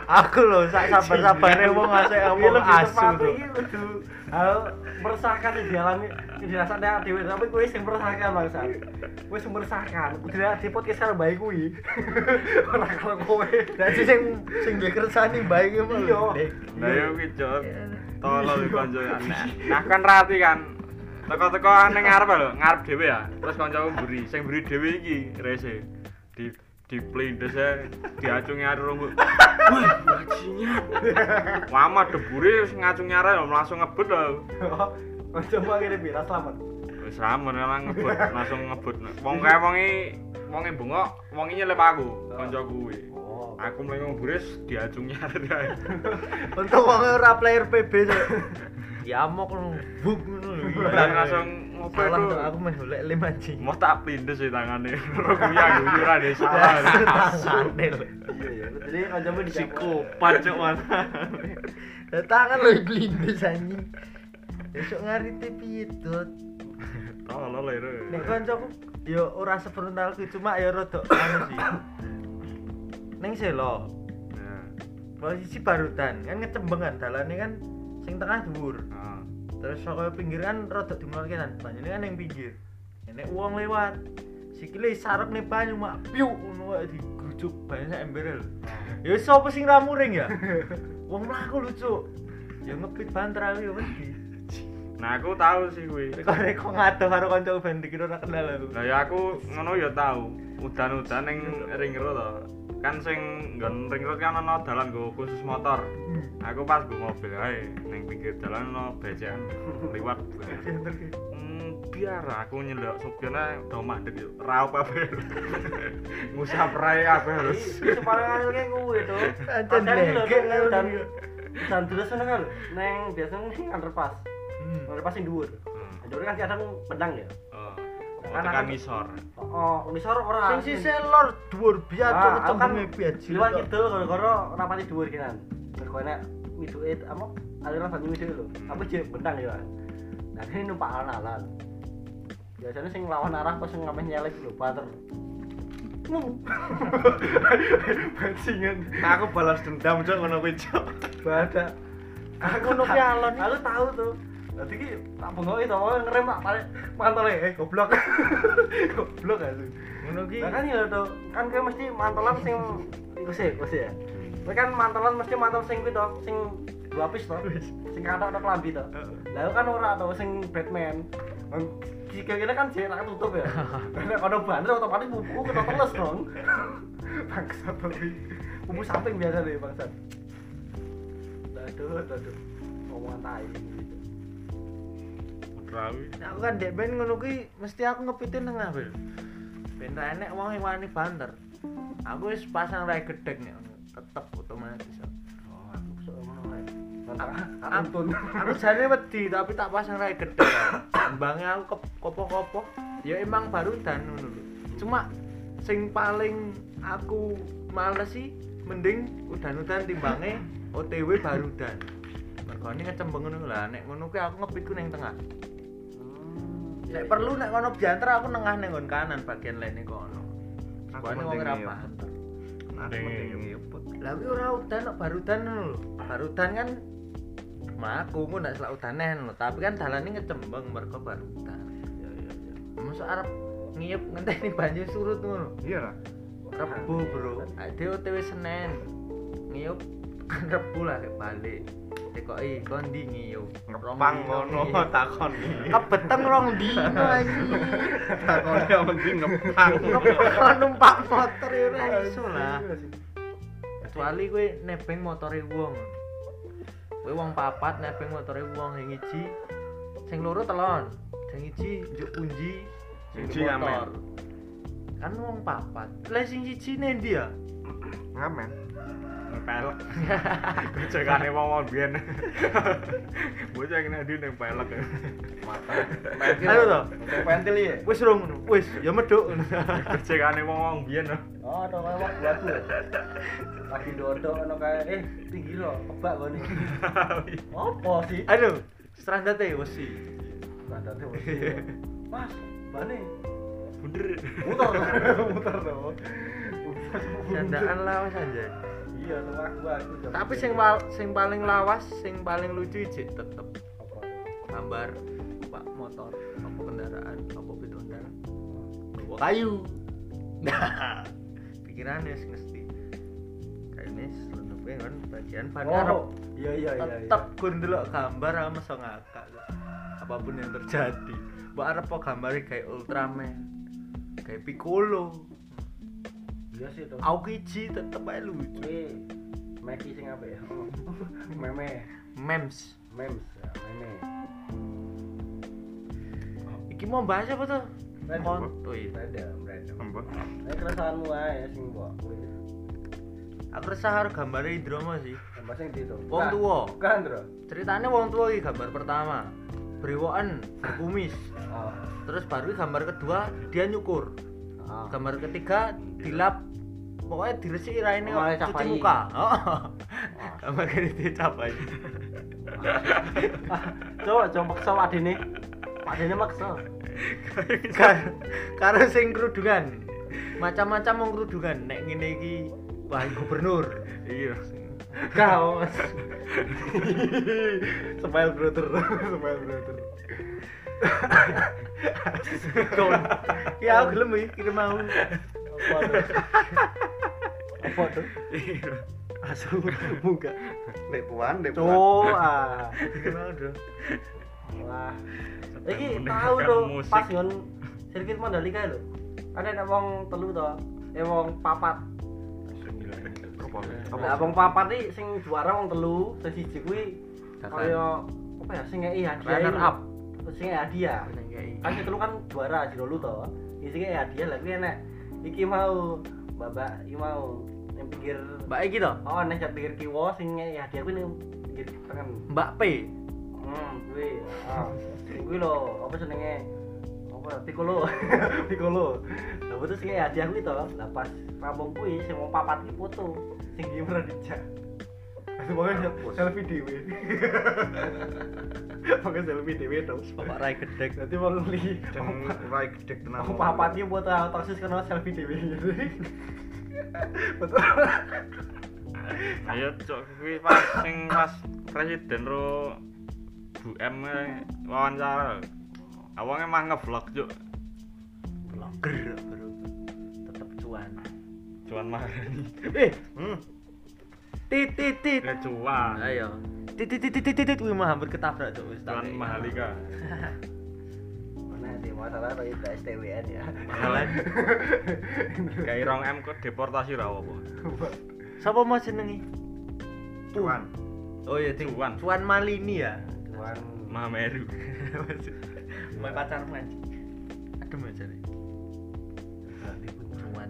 Speaker 2: Aku lho sak sabar-sabare
Speaker 1: Iya.
Speaker 2: wong asik
Speaker 1: film
Speaker 2: ngomong
Speaker 1: di
Speaker 2: asu
Speaker 1: tempat
Speaker 2: tuh.
Speaker 1: iki kudu gitu. hal meresahkan yang dialami dirasakne awake dhewe tapi kowe sing meresahkan bangsa. Kowe sing meresahkan. Kudu di podcast karo bae kuwi. (laughs) Ora karo kowe.
Speaker 2: Dadi sing sing duwe kersane bae ki
Speaker 1: Iya.
Speaker 2: lho. Dek.
Speaker 3: Lah yo kuwi Jok. Tolol iki kanca ya. Nah, nah kan rati kan Teko-teko ning ngarep lho, ngarep dhewe ya. Terus kancaku mburi, sing mburi dhewe iki rese. Di di plindes e diacungi arek rumbuk. (laughs) Wah, bajingan. Lama debure wis ngacungi arek lho, langsung ngebut lho.
Speaker 1: Oh, coba akhirnya bira selamat.
Speaker 3: Wis ramen lang ngebut, langsung ngebut. Wong kae wonge wonge bengok, wonge nyelip aku, kancaku kuwi.
Speaker 1: Oh.
Speaker 3: Aku mlengong mburi diacungi arek. ae.
Speaker 2: Untuk wong ora player PB cok. (laughs) Ya amok ngono. Buk ngono lho.
Speaker 3: Bareng Langsung ngopo
Speaker 2: Salah
Speaker 3: itu.
Speaker 2: tuh aku meh golek lem anjing. (laughs)
Speaker 3: Mau tak plindes sih tangane. Rokuya guyuran ya
Speaker 2: Dasar
Speaker 3: salah.
Speaker 2: tasane lho.
Speaker 1: Iya ya. Jadi kancamu di
Speaker 3: Psikopat cok mana.
Speaker 2: Lah Ya, Tangan lho blindes anjing. Besok ngarite piye, Dot?
Speaker 3: Tolol lho. Ira.
Speaker 2: Nek kancaku ya ora sefrontalku cuma ya rada (coughs) anu sih. Ning selo,
Speaker 3: Nah.
Speaker 2: posisi barutan kan ngecembeng kan dalane kan sing tengah dhuwur.
Speaker 3: Ah.
Speaker 2: terus saka pinggir kan rada dungul kanan banyune kan yang pinggir enek uang lewat sikile sarap nih banyu mak piu ngono kayak digrujuk banyak
Speaker 4: (laughs)
Speaker 2: emberel ya sapa sing ra muring ya wong mlaku lucu ya ngepit ban terawi ya wedi
Speaker 3: Nah aku tahu sih kuwi.
Speaker 2: kok rek ngadoh karo kanca ben dikira ora kenal aku
Speaker 3: Lah ya aku ngono ya tahu. Udan-udan ning ring road to. Kan sing nggon ring road kan ana dalan nggo khusus motor.
Speaker 4: Hmm.
Speaker 3: Aku pas gue mobil ae ning pinggir dalan ana becekan liwat. Hmm, biar aku nyelok sopirnya udah mandek yuk raup apa ya (laughs) ngusap rai apa harus
Speaker 1: Itu paling aneh kayak gue tuh.
Speaker 2: Ancen blegek
Speaker 1: kan
Speaker 2: ngono
Speaker 1: dan
Speaker 2: iki.
Speaker 1: dan terus seneng kan. Neng biasanya neng underpass.
Speaker 2: Hmm.
Speaker 1: Underpass yang dhuwur.
Speaker 3: Hmm.
Speaker 1: Jadi kan kadang pedang ya.
Speaker 3: Oh,
Speaker 1: Kan
Speaker 3: tekan
Speaker 1: aku-
Speaker 3: ngisor.
Speaker 1: Oh, oh, ngisor
Speaker 2: sing
Speaker 1: ora.
Speaker 2: sisih lor dhuwur ya, biar
Speaker 1: Ah,
Speaker 2: kok
Speaker 1: aku kan
Speaker 2: kecembenge biar
Speaker 1: Liwat kidul gara-gara ora pati dhuwur kinan. Mergo enek miduke apa aliran banyu miduke lho. Apa jek bendang ya. Nah, ini numpak alan-alan. Biasanya sing lawan arah pas sing ngameh nyelip lho banter.
Speaker 4: (laughs) Bajingan. Aku balas dendam cok ngono kuwi cok.
Speaker 1: Badak.
Speaker 2: aku ngono ki alon
Speaker 1: Aku tahu tuh. Nanti ki tak bengoki to ngerem tak tarik mantole eh goblok. (laughs) goblok aku.
Speaker 2: ngono ki
Speaker 1: Lah kan ya tuh, kan kowe mesti mantolan sing iku sih, iku sih ya. Kowe kan mantolan mesti mantol sing kuwi to, sing dua piece to. Sing katok atau klambi to. Lah aku kan ora to sing Batman. Wong sikile kan jek tak tutup (laughs) ya. Nek kono banter otomatis buku kena teles dong. (laughs) Bangsat to iki. Buku samping biasa deh bangsat. Aduh, aduh. Omongan tai gitu.
Speaker 3: Rawi.
Speaker 2: Nah, aku kan dek ben ngono kuwi mesti aku ngepitin nang ngabel. Ben ra enek wong sing wani banter. Aku wis pasang rai gedeng ya, tetep otomatis.
Speaker 1: Oh, aku sok ngono ae.
Speaker 2: Aku, aku jane wedi tapi tak pasang rai gedeng. Kembangnya aku kep- kopo-kopo. Ya emang baru dan ngono lho. Cuma sing paling aku males sih mending udan-udan timbange OTW barudan. Mergo ini ngecembeng ngono lah nek ngono kuwi aku ngepitku ning tengah. Nek perlu nek ono biantar aku nengah neng nggon kanan bagian lainnya kono.
Speaker 4: Aku
Speaker 2: Kono wong
Speaker 4: mending
Speaker 2: ora
Speaker 4: ngiyup.
Speaker 2: banter.
Speaker 4: Aku
Speaker 3: Ning-
Speaker 4: mending ngeput.
Speaker 2: Lah kuwi ora udan kok barudan ngono lho. Barudan kan mlaku ku nek selak udanen lho, tapi kan dalane ngecembeng mergo barudan.
Speaker 1: Ya ya ya.
Speaker 2: Masa arep ngiyep ngenteni banjir surut ngono.
Speaker 4: Iya lah.
Speaker 2: Rebu, Bro. Ade OTW Senin. Ngiyep tekan (laughs) Rebu lah kayak balik. Tekoki kondi ngiyep.
Speaker 4: Ngepang ngono takon.
Speaker 2: Kebeteng rong dino anjing.
Speaker 4: Takone yang penting ngepang.
Speaker 2: Kalau numpak motor ya ora iso lah. Kecuali kowe nebeng motore wong. Kowe wong papat nebeng motore wong sing iji sing loro telon, sing iji njuk unji, sing
Speaker 4: Siji
Speaker 2: njuk
Speaker 4: ngamen.
Speaker 2: motor. Kan wong papat. Lah sing siji nendi ya?
Speaker 4: Ngamen.
Speaker 3: (laughs) pelek gojekane wong wong biyen (laughs) bocah kena di ning pelek
Speaker 2: Ayo to.
Speaker 1: Pentil ya.
Speaker 2: Wis rong ngono. Wis, ya medhok.
Speaker 3: gojekane wong wong biyen
Speaker 1: Oh, ada kayak waktu aku. Lagi dodok ono kayak eh tinggi lo, kebak gone. Apa sih?
Speaker 2: Aduh, strandate wis sih.
Speaker 1: Standarte mesti. Mas, bane
Speaker 3: bener
Speaker 1: muter to, muter to.
Speaker 2: Candaan lawas anjay.
Speaker 1: Iya, nang aku aku. jam
Speaker 2: Tapi
Speaker 1: segini.
Speaker 2: sing wal- sing paling lawas, sing paling lucu ijik tetep
Speaker 1: Apa?
Speaker 2: gambar pak motor apa kendaraan apa itu kendaraan bawa kayu (laughs) nah pikirannya sih mesti kayak ini selentup kowe kan bagian ban ngarep.
Speaker 1: Oh, iya iya iya. iya.
Speaker 2: Tetep gue ndelok gambar aku meso ngakak. kok. Apapun yang terjadi. Mbok arep po gambare kayak Ultraman. Kayak Piccolo.
Speaker 1: Iya sih tuh.
Speaker 2: Aku kiji tetep ae lucu.
Speaker 1: Ini Meki sing apa ya? Meme,
Speaker 2: Mems.
Speaker 1: memes ya, meme.
Speaker 2: Iki mau bahas apa tuh?
Speaker 1: Random.
Speaker 2: Konto ya.
Speaker 1: Random, random.
Speaker 3: Mbah.
Speaker 1: Ini keresahanmu aja sing mbok kowe.
Speaker 2: Aku resah karo gambare Idromo sih.
Speaker 1: Gambar sing di itu.
Speaker 2: Wong tuwa.
Speaker 1: Kan, Bro.
Speaker 2: Ceritanya wong tuwa iki gambar pertama. Brewoken, berkumis.
Speaker 1: Oh.
Speaker 2: Terus baru gambar kedua dia nyukur.
Speaker 1: Oh.
Speaker 2: Gambar ketiga dilap. Pokoknya diresiki raine
Speaker 1: Oh,
Speaker 2: kok cuci
Speaker 1: capai.
Speaker 2: muka. (laughs) Oh. Gambar ketiga dicapai.
Speaker 1: (laughs) Ah, Coba coba maksa Pak Dene. Pak Dene maksa.
Speaker 2: (laughs) Kar karo sing kerudungan. Macam-macam wong kerudungan. Nek ngene iki wah gubernur.
Speaker 3: Iya.
Speaker 1: Kau.
Speaker 2: (laughs) Smile brother, smile brother. Kon. Ya aku gelem iki kirim mau.
Speaker 1: Apa tuh? Apa tuh?
Speaker 3: Iya.
Speaker 1: Asu buka.
Speaker 4: Dek puan, dek puan.
Speaker 1: Coba.
Speaker 2: Kirim mau, Bro.
Speaker 1: Wah.
Speaker 3: Sedang
Speaker 1: Iki tahu
Speaker 3: mendengarkan
Speaker 1: to
Speaker 3: musik.
Speaker 1: pas yon sirkuit Mandalika lho. Ada nek wong telu to, eh wong papat.
Speaker 3: Apa? Apa?
Speaker 1: Nah, wong papat iki sing juara wong telu, sing siji kuwi
Speaker 2: Kakak.
Speaker 1: kaya apa ya sing ngeki hadiah.
Speaker 2: Runner
Speaker 1: iku.
Speaker 2: up.
Speaker 1: Sing ngeki hadiah. Kan sing telu kan juara jero lu to. Iki sing ngeki hadiah lha ya kuwi enek. Iki mau babak iki mau yang pinggir
Speaker 2: Mbak iki to?
Speaker 1: oh nek jat pinggir kiwa sing ngeki hadiah kuwi ning pinggir tengen.
Speaker 2: Mbak P.
Speaker 1: Hmm, kuwi. Ah, sing kuwi lho, apa jenenge? Apa Piccolo. (laughs) Piccolo. Lah foto sing hadiah kuwi to. Lah pas rampung kuwi sing wong papat iki foto. Sing iki ora dijak. Pokoknya selfie dhewe. (laughs) Pokoknya selfie dhewe to.
Speaker 2: Bapak Rai Gedek.
Speaker 1: Nanti wong li.
Speaker 4: Jeng rai gedek tenan.
Speaker 1: Wong papat iki foto terus kena eh, selfie
Speaker 4: (laughs)
Speaker 1: dhewe. Foto.
Speaker 3: Ayo cok kuwi pas sing pas presiden ro Bu M eh, wawancara. Awangnya mah ngevlog cok.
Speaker 2: Blogger bro. Tetep cuan.
Speaker 3: Cuan Maharani.
Speaker 2: Eh,
Speaker 3: Hmm,
Speaker 2: tit tit tit.
Speaker 3: ya cuan.
Speaker 2: Ayo. Tit tit tit tit tit tit wih mah hampir ketabrak tuh wis
Speaker 3: Cuan Mahalika.
Speaker 1: Mana sih masalah tadi STWN ya.
Speaker 2: Mahalan.
Speaker 3: Kayak rong M kok deportasi ra apa.
Speaker 2: Sapa mau jenengi?
Speaker 4: Puan.
Speaker 2: Oh iya, Ting.
Speaker 3: Cuan.
Speaker 2: Cuan Malini ya.
Speaker 1: Cuman
Speaker 3: Mahameru.
Speaker 2: Mau pacarmu aja. Adem aja nih. Cuan.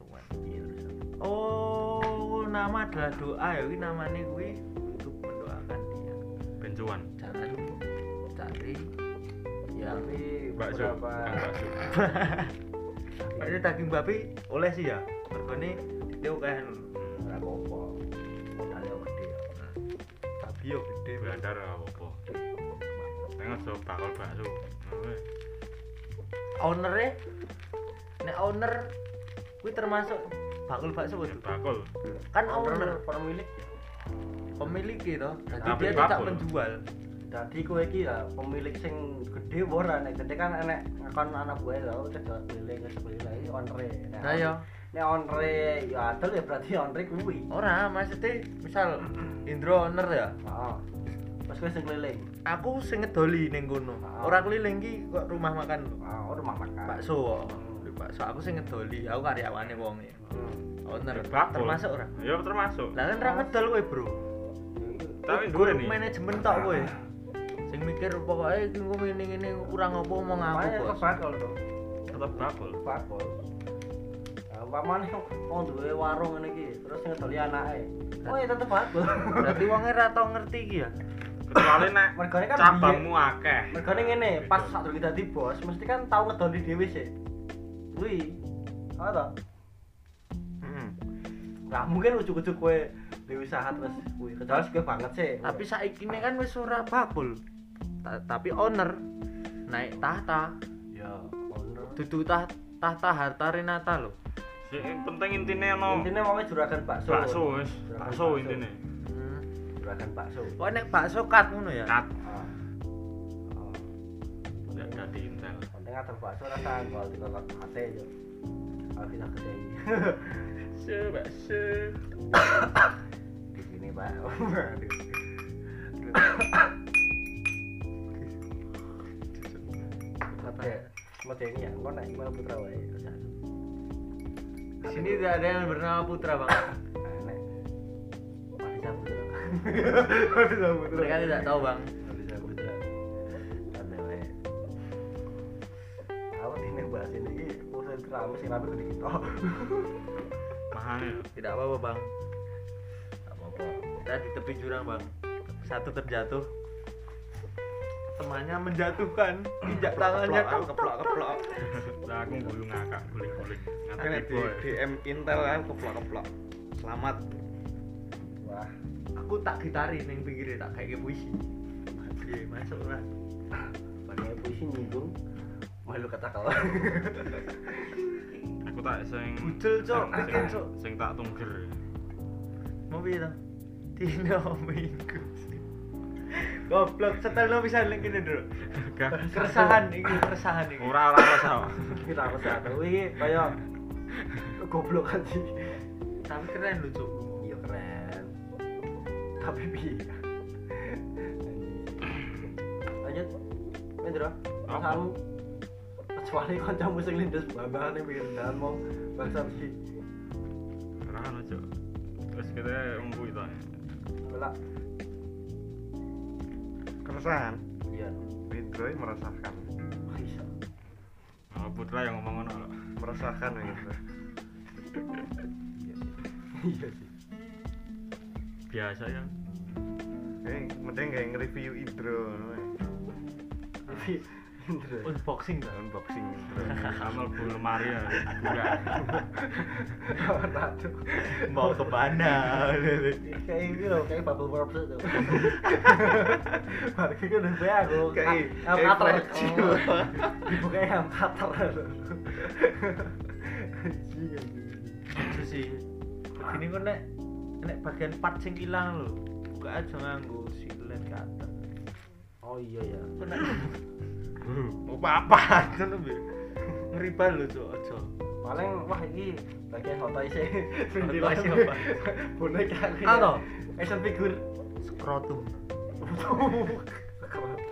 Speaker 2: Cuan. Iya, terus apa? Oh, nama adalah doa ya. Ini namanya gue untuk mendoakan dia.
Speaker 3: Pencuan.
Speaker 2: Jalan cari
Speaker 1: tapi
Speaker 2: yang
Speaker 1: Iya,
Speaker 3: Bakso.
Speaker 1: beberapa
Speaker 3: Kang bakso.
Speaker 2: (laughs) ini daging babi oleh sih ya. Mergone itu kan
Speaker 3: Hmm.
Speaker 2: ora apa-apa. Modalnya gede ya. Babi yo gede.
Speaker 3: Belanda ra apa. Tengok so bakal bakso. Nah,
Speaker 2: ownernya nek owner kuwi termasuk bakul bakso
Speaker 3: weh,
Speaker 2: waduh.
Speaker 3: Ya, Bakul.
Speaker 2: kan
Speaker 1: owner
Speaker 2: owner
Speaker 1: pemilik ya.
Speaker 2: pemilik gitu jadi
Speaker 3: Tapi
Speaker 2: dia tidak
Speaker 3: bakul.
Speaker 2: menjual
Speaker 1: Jadi kowe iki ya pemilik sing gede apa ora nek gede kan enek ngakon anak gue lho cedok pilih ke sebelah lagi onre. Nek
Speaker 2: nah ya
Speaker 1: Nek onre ya adol ya berarti onre kuwi.
Speaker 2: ora maksudnya misal Indro owner ya
Speaker 1: Heeh. Pas Ah. kowe sing keliling.
Speaker 2: aku sing ngedoli ning kono
Speaker 1: Ah.
Speaker 2: ora keliling ki kok rumah makan lho
Speaker 1: Ah, rumah makan.
Speaker 2: bakso kok. Di bakso aku sing ngedoli aku karyawane wong ya
Speaker 1: Hmm.
Speaker 2: owner
Speaker 3: Ya, bakul.
Speaker 2: termasuk ora
Speaker 3: Ya termasuk.
Speaker 2: lah kan ra ngedol kowe bro Kowe
Speaker 3: Tapi duwe nih. Ah.
Speaker 2: manajemen tok kowe sing mikir pokoknya iki engko ngene ngene kurang apa mau ngaku
Speaker 1: Makanya
Speaker 2: bos
Speaker 1: kebakol tuh,
Speaker 3: Tetep bakul.
Speaker 1: kebakol. Nah, umpamane wong duwe warung ngene iki, terus ngedoli anake. Oh ya tetep bakul.
Speaker 2: berarti wongnya ra tau ngerti iki ya
Speaker 3: Kecuali nek
Speaker 1: Mergane kan biyen-
Speaker 3: cabangmu akeh. Gitu.
Speaker 1: Mergane ngene, pas saat dulu dadi bos, mesti kan tau ngedoli dhewe sih. Kuwi. Apa toh?
Speaker 3: Heeh.
Speaker 1: Nah, mungkin ujuk-ujuk kowe di usaha terus kuwi kecuali sugih banget sih.
Speaker 2: tapi saiki ini kan wis ora bakul Ta- tapi owner naik tahta
Speaker 1: ya bener.
Speaker 2: dudu tah tahta harta Renata lho
Speaker 3: Sing penting intine ono
Speaker 1: Intine wonge juragan bakso.
Speaker 3: bakso wis.
Speaker 1: Juragan
Speaker 3: Bakso intine.
Speaker 2: hmm.
Speaker 1: Juragan bakso.
Speaker 2: kok nek bakso kat ngono ya
Speaker 3: Kat
Speaker 1: Ah. Ah.
Speaker 3: ndak dadi intel.
Speaker 1: Penting ada bakso rasa anggol di kolot ate yo. Tapi tak gede. (laughs)
Speaker 2: Coba se.
Speaker 1: Di sini
Speaker 2: (laughs)
Speaker 1: pak. Apa ya? Mau ini ya? Kau naik mana putra wae?
Speaker 2: Di sini tidak ada yang bernama Putra, Bang. (laughs)
Speaker 1: Aneh. Masih sambut ya.
Speaker 2: Mereka tidak tahu, Bang.
Speaker 1: Masih sambut ya. Aneh wae. Aku ini bahas ini ini urusan keramas sih rame gede kita.
Speaker 3: mahal ya
Speaker 2: Tidak apa-apa, Bang.
Speaker 1: Gak apa-apa.
Speaker 2: Kita di tepi jurang, Bang. Satu terjatuh. Temannya menjatuhkan pijak tangannya
Speaker 4: Keplok,
Speaker 2: tok,
Speaker 4: keplok,
Speaker 2: tok, tok.
Speaker 4: keplok.
Speaker 3: (laughs) lah aku guyu ngakak guling-guling
Speaker 4: Ini
Speaker 3: ngatasi
Speaker 4: di
Speaker 3: boy
Speaker 4: DM Intel kan keplok keplok. Selamat.
Speaker 1: Wah.
Speaker 2: Aku tak gitari ning pinggire tak kayak puisi. Iya, masuk lah.
Speaker 1: Padahal puisi nyinggung malu kata (laughs) kau.
Speaker 3: aku tak sing
Speaker 2: Budel, Cok.
Speaker 3: sing-
Speaker 2: Bikin,
Speaker 3: sing-
Speaker 2: Cok.
Speaker 3: sing tak tungger
Speaker 2: Mau (laughs) piye to? Dino minggu. Goblok, setelno bisa link ini dulu. Ya.
Speaker 3: gak
Speaker 2: Keresahan ini, keresahan ini.
Speaker 3: ora ora rasa
Speaker 1: Kita harus tahu ini
Speaker 2: (laughs)
Speaker 1: kayak goblok kan sih.
Speaker 2: Tapi keren lucu.
Speaker 1: Iya keren. Tapi bi. Lanjut. Mendro, kamu kecuali kancamu sing lindes babangan yang pinggir dalan mau bangsa besi
Speaker 3: ora ono cok terus kita gitu. umpu itu
Speaker 1: belak
Speaker 4: Keresahan.
Speaker 1: iya
Speaker 4: Windro merasakan.
Speaker 1: bisa
Speaker 3: Oh, putra yang ngomong ngono lho.
Speaker 4: Merasakan Windro.
Speaker 1: iya sih
Speaker 3: biasa ya
Speaker 4: Eh, mending kayak nge-review Idro.
Speaker 1: tapi Mendro
Speaker 2: Unboxing ta.
Speaker 4: Unboxing Idro.
Speaker 3: sama bu lemari ya enggak
Speaker 1: tato
Speaker 2: Mau ke mana?
Speaker 1: kayak gitu loh kayak bubble wrap itu Barki kan udah saya aku
Speaker 4: Kayak-
Speaker 1: Am-
Speaker 4: kayak gitu.
Speaker 1: amkater.
Speaker 4: Fred Jill.
Speaker 1: Oh. dibukanya yang kater Anjing, anjing.
Speaker 2: Lucu sih. Begini kok nek nek bagian part sing ilang lho. Buka aja nganggo silet kata.
Speaker 1: oh iya ya
Speaker 2: Kok nek apa apa (laughs) aja lho. Bi. Ngeribal lho cok aja.
Speaker 1: paling wah ini bagian hotai sih
Speaker 2: Hotai sih
Speaker 1: (laughs)
Speaker 2: apa?
Speaker 1: boneka aku ya.
Speaker 2: Ano?
Speaker 1: action figure
Speaker 2: Skrotum.
Speaker 1: Keratuk.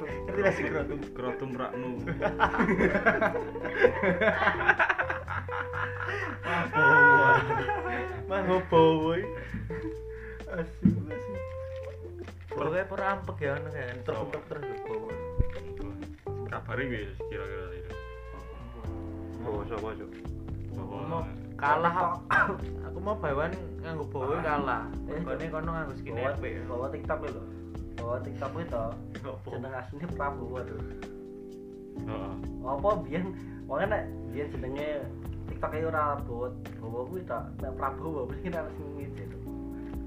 Speaker 2: Ngerti lah skrotum.
Speaker 3: krotum raknu
Speaker 2: Mang opo boy.
Speaker 1: asyik asyik
Speaker 2: Pokoke ora ampek ya ngono kan. Terus
Speaker 3: Apa?
Speaker 2: terus terus.
Speaker 3: kabari wis kira-kira itu
Speaker 4: Oh, coba coba.
Speaker 2: Aku
Speaker 3: bahwa
Speaker 2: mau kalah aku. aku mau bawan nganggo bawa kalah
Speaker 1: Eh,
Speaker 2: kene kono nganggo skinny
Speaker 1: bawa
Speaker 2: RP
Speaker 1: bawa tiktok lho bawa tiktok itu
Speaker 2: Ngopo?
Speaker 1: jeneng aslinya Prabowo tuh
Speaker 3: heeh
Speaker 1: apa biyen wong nek biyen jenenge TikTok e ora bot. Bawa kuwi tak nek Prabowo mesti kena sing ngene to.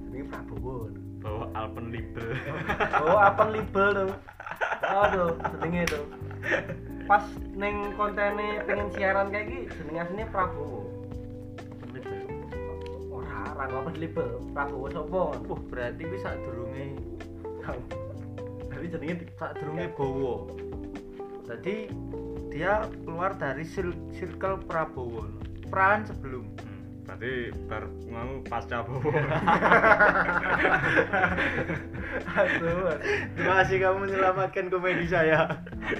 Speaker 1: Jenenge Prabowo.
Speaker 3: bahwa alpen libel
Speaker 1: Oh, apa libel to? Aduh, jenenge to. Pas ning kontene pengen siaran kayak gini, jenenge asline Prabowo. Ora, ora apa libel. Prabowo sapa?
Speaker 2: Wah, Uh, berarti kuwi sadurunge
Speaker 1: Tapi jenenge TikTok.
Speaker 2: sadurunge bawa jadi dia keluar dari sil- circle Prabowo peran sebelum (laughs)
Speaker 3: Hmm, berarti bar ngamu pasca bahwa
Speaker 1: Aduh,
Speaker 2: terima kasih kamu menyelamatkan komedi saya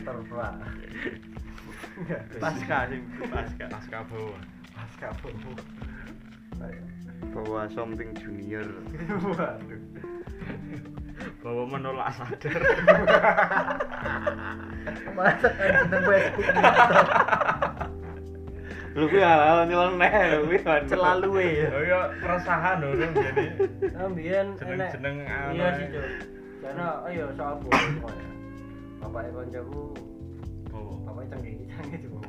Speaker 1: terpra.
Speaker 2: pasca sing pasca
Speaker 3: pasca bahwa
Speaker 1: Pas Prabowo.
Speaker 4: Bawa something
Speaker 2: (laughs)
Speaker 4: junior.
Speaker 1: Waduh.
Speaker 3: bahwa menolak sadar
Speaker 2: masa kan jeneng Facebook
Speaker 4: Lu kuwi hal-hal nyeleneh lu kuwi. kan.
Speaker 2: selalu ya
Speaker 3: oh iya keresahan lho itu jadi
Speaker 1: Nah, biyen enek
Speaker 3: Jeneng-jeneng anu
Speaker 1: Iya
Speaker 3: ae.
Speaker 1: sih, Cuk. Jana, ayo soal bohong kok ya. Bapaknya konjaku,
Speaker 3: bahwa
Speaker 1: bapaknya canggih, canggih juga.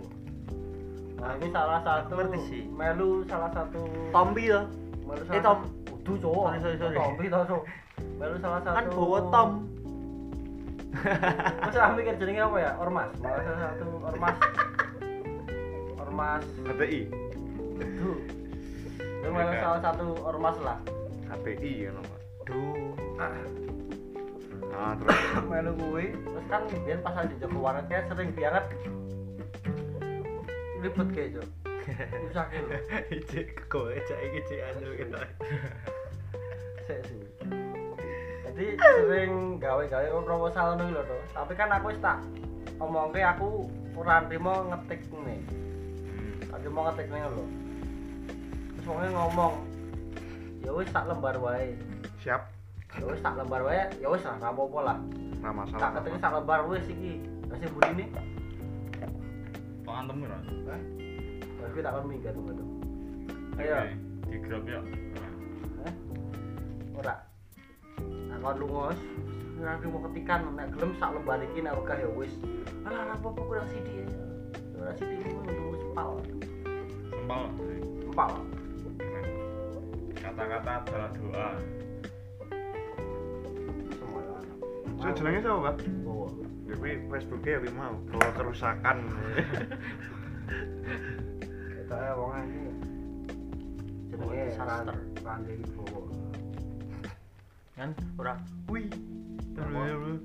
Speaker 1: Nah, ini salah satu
Speaker 2: ngerti sih.
Speaker 1: melu salah satu
Speaker 2: Tompi loh
Speaker 1: melu
Speaker 2: eh, Tom.
Speaker 1: Udah, Cuk.
Speaker 2: Sorry, sorry, sorry.
Speaker 1: Tompi toh, Cuk. Melu salah satu
Speaker 2: kan bawa Tom
Speaker 1: Masa aku mikir jenenge apa ya? Ormas. Malah
Speaker 2: Eh.
Speaker 1: salah satu
Speaker 2: (laughs)
Speaker 1: ormas. ormas.
Speaker 4: HTI.
Speaker 1: Duh. Itu melu salah satu ormas lah.
Speaker 4: HTI ya nomor.
Speaker 2: Duh,
Speaker 4: Nah, terus
Speaker 1: melu kuwi terus kan biyen pas ada Joko Warnet kayak sering banget ribet kayak Cuk. Rusak ya lho.
Speaker 2: Ijik kok ijik iki ijik anu gitu.
Speaker 1: Sik sih. Jadi sering gawe-gawe proposal ngono lho to. Tapi kan aku wis tak omongke aku ora nrimo ngetik ngene. Aku mau ngetik ngene lho. Terus wonge ngomong, "Ya wis tak lembar wae."
Speaker 4: siap
Speaker 1: Ya wis tak lembar wae, ya wis lah, ora apa-apa lah.
Speaker 4: nah masalah
Speaker 1: Tak ketik sak lembar wis iki. Wis mburi ini,
Speaker 3: Pengantem ora.
Speaker 1: wis iki tak kon minggat to. Ayo.
Speaker 3: Oke, Di grup ya.
Speaker 1: Hah? Eh? ora aku lungos nanti mau ketikan nek gelem sak lembar iki nek wegah ya wis alah ora apa-apa kurang sithik ya ora sithik ku untuk wis empal
Speaker 3: Sempal. eh.
Speaker 1: empal
Speaker 3: Kata-kata adalah doa.
Speaker 1: semua ya
Speaker 4: so jenenge siapa pak
Speaker 1: Gowo.
Speaker 4: jadi Facebooknya ya mau bawa kerusakan
Speaker 1: kita ya wong iki jenenge
Speaker 2: Gowo
Speaker 1: saran
Speaker 2: disaster.
Speaker 1: rande iki gowo
Speaker 2: Kan ora
Speaker 4: wih ya,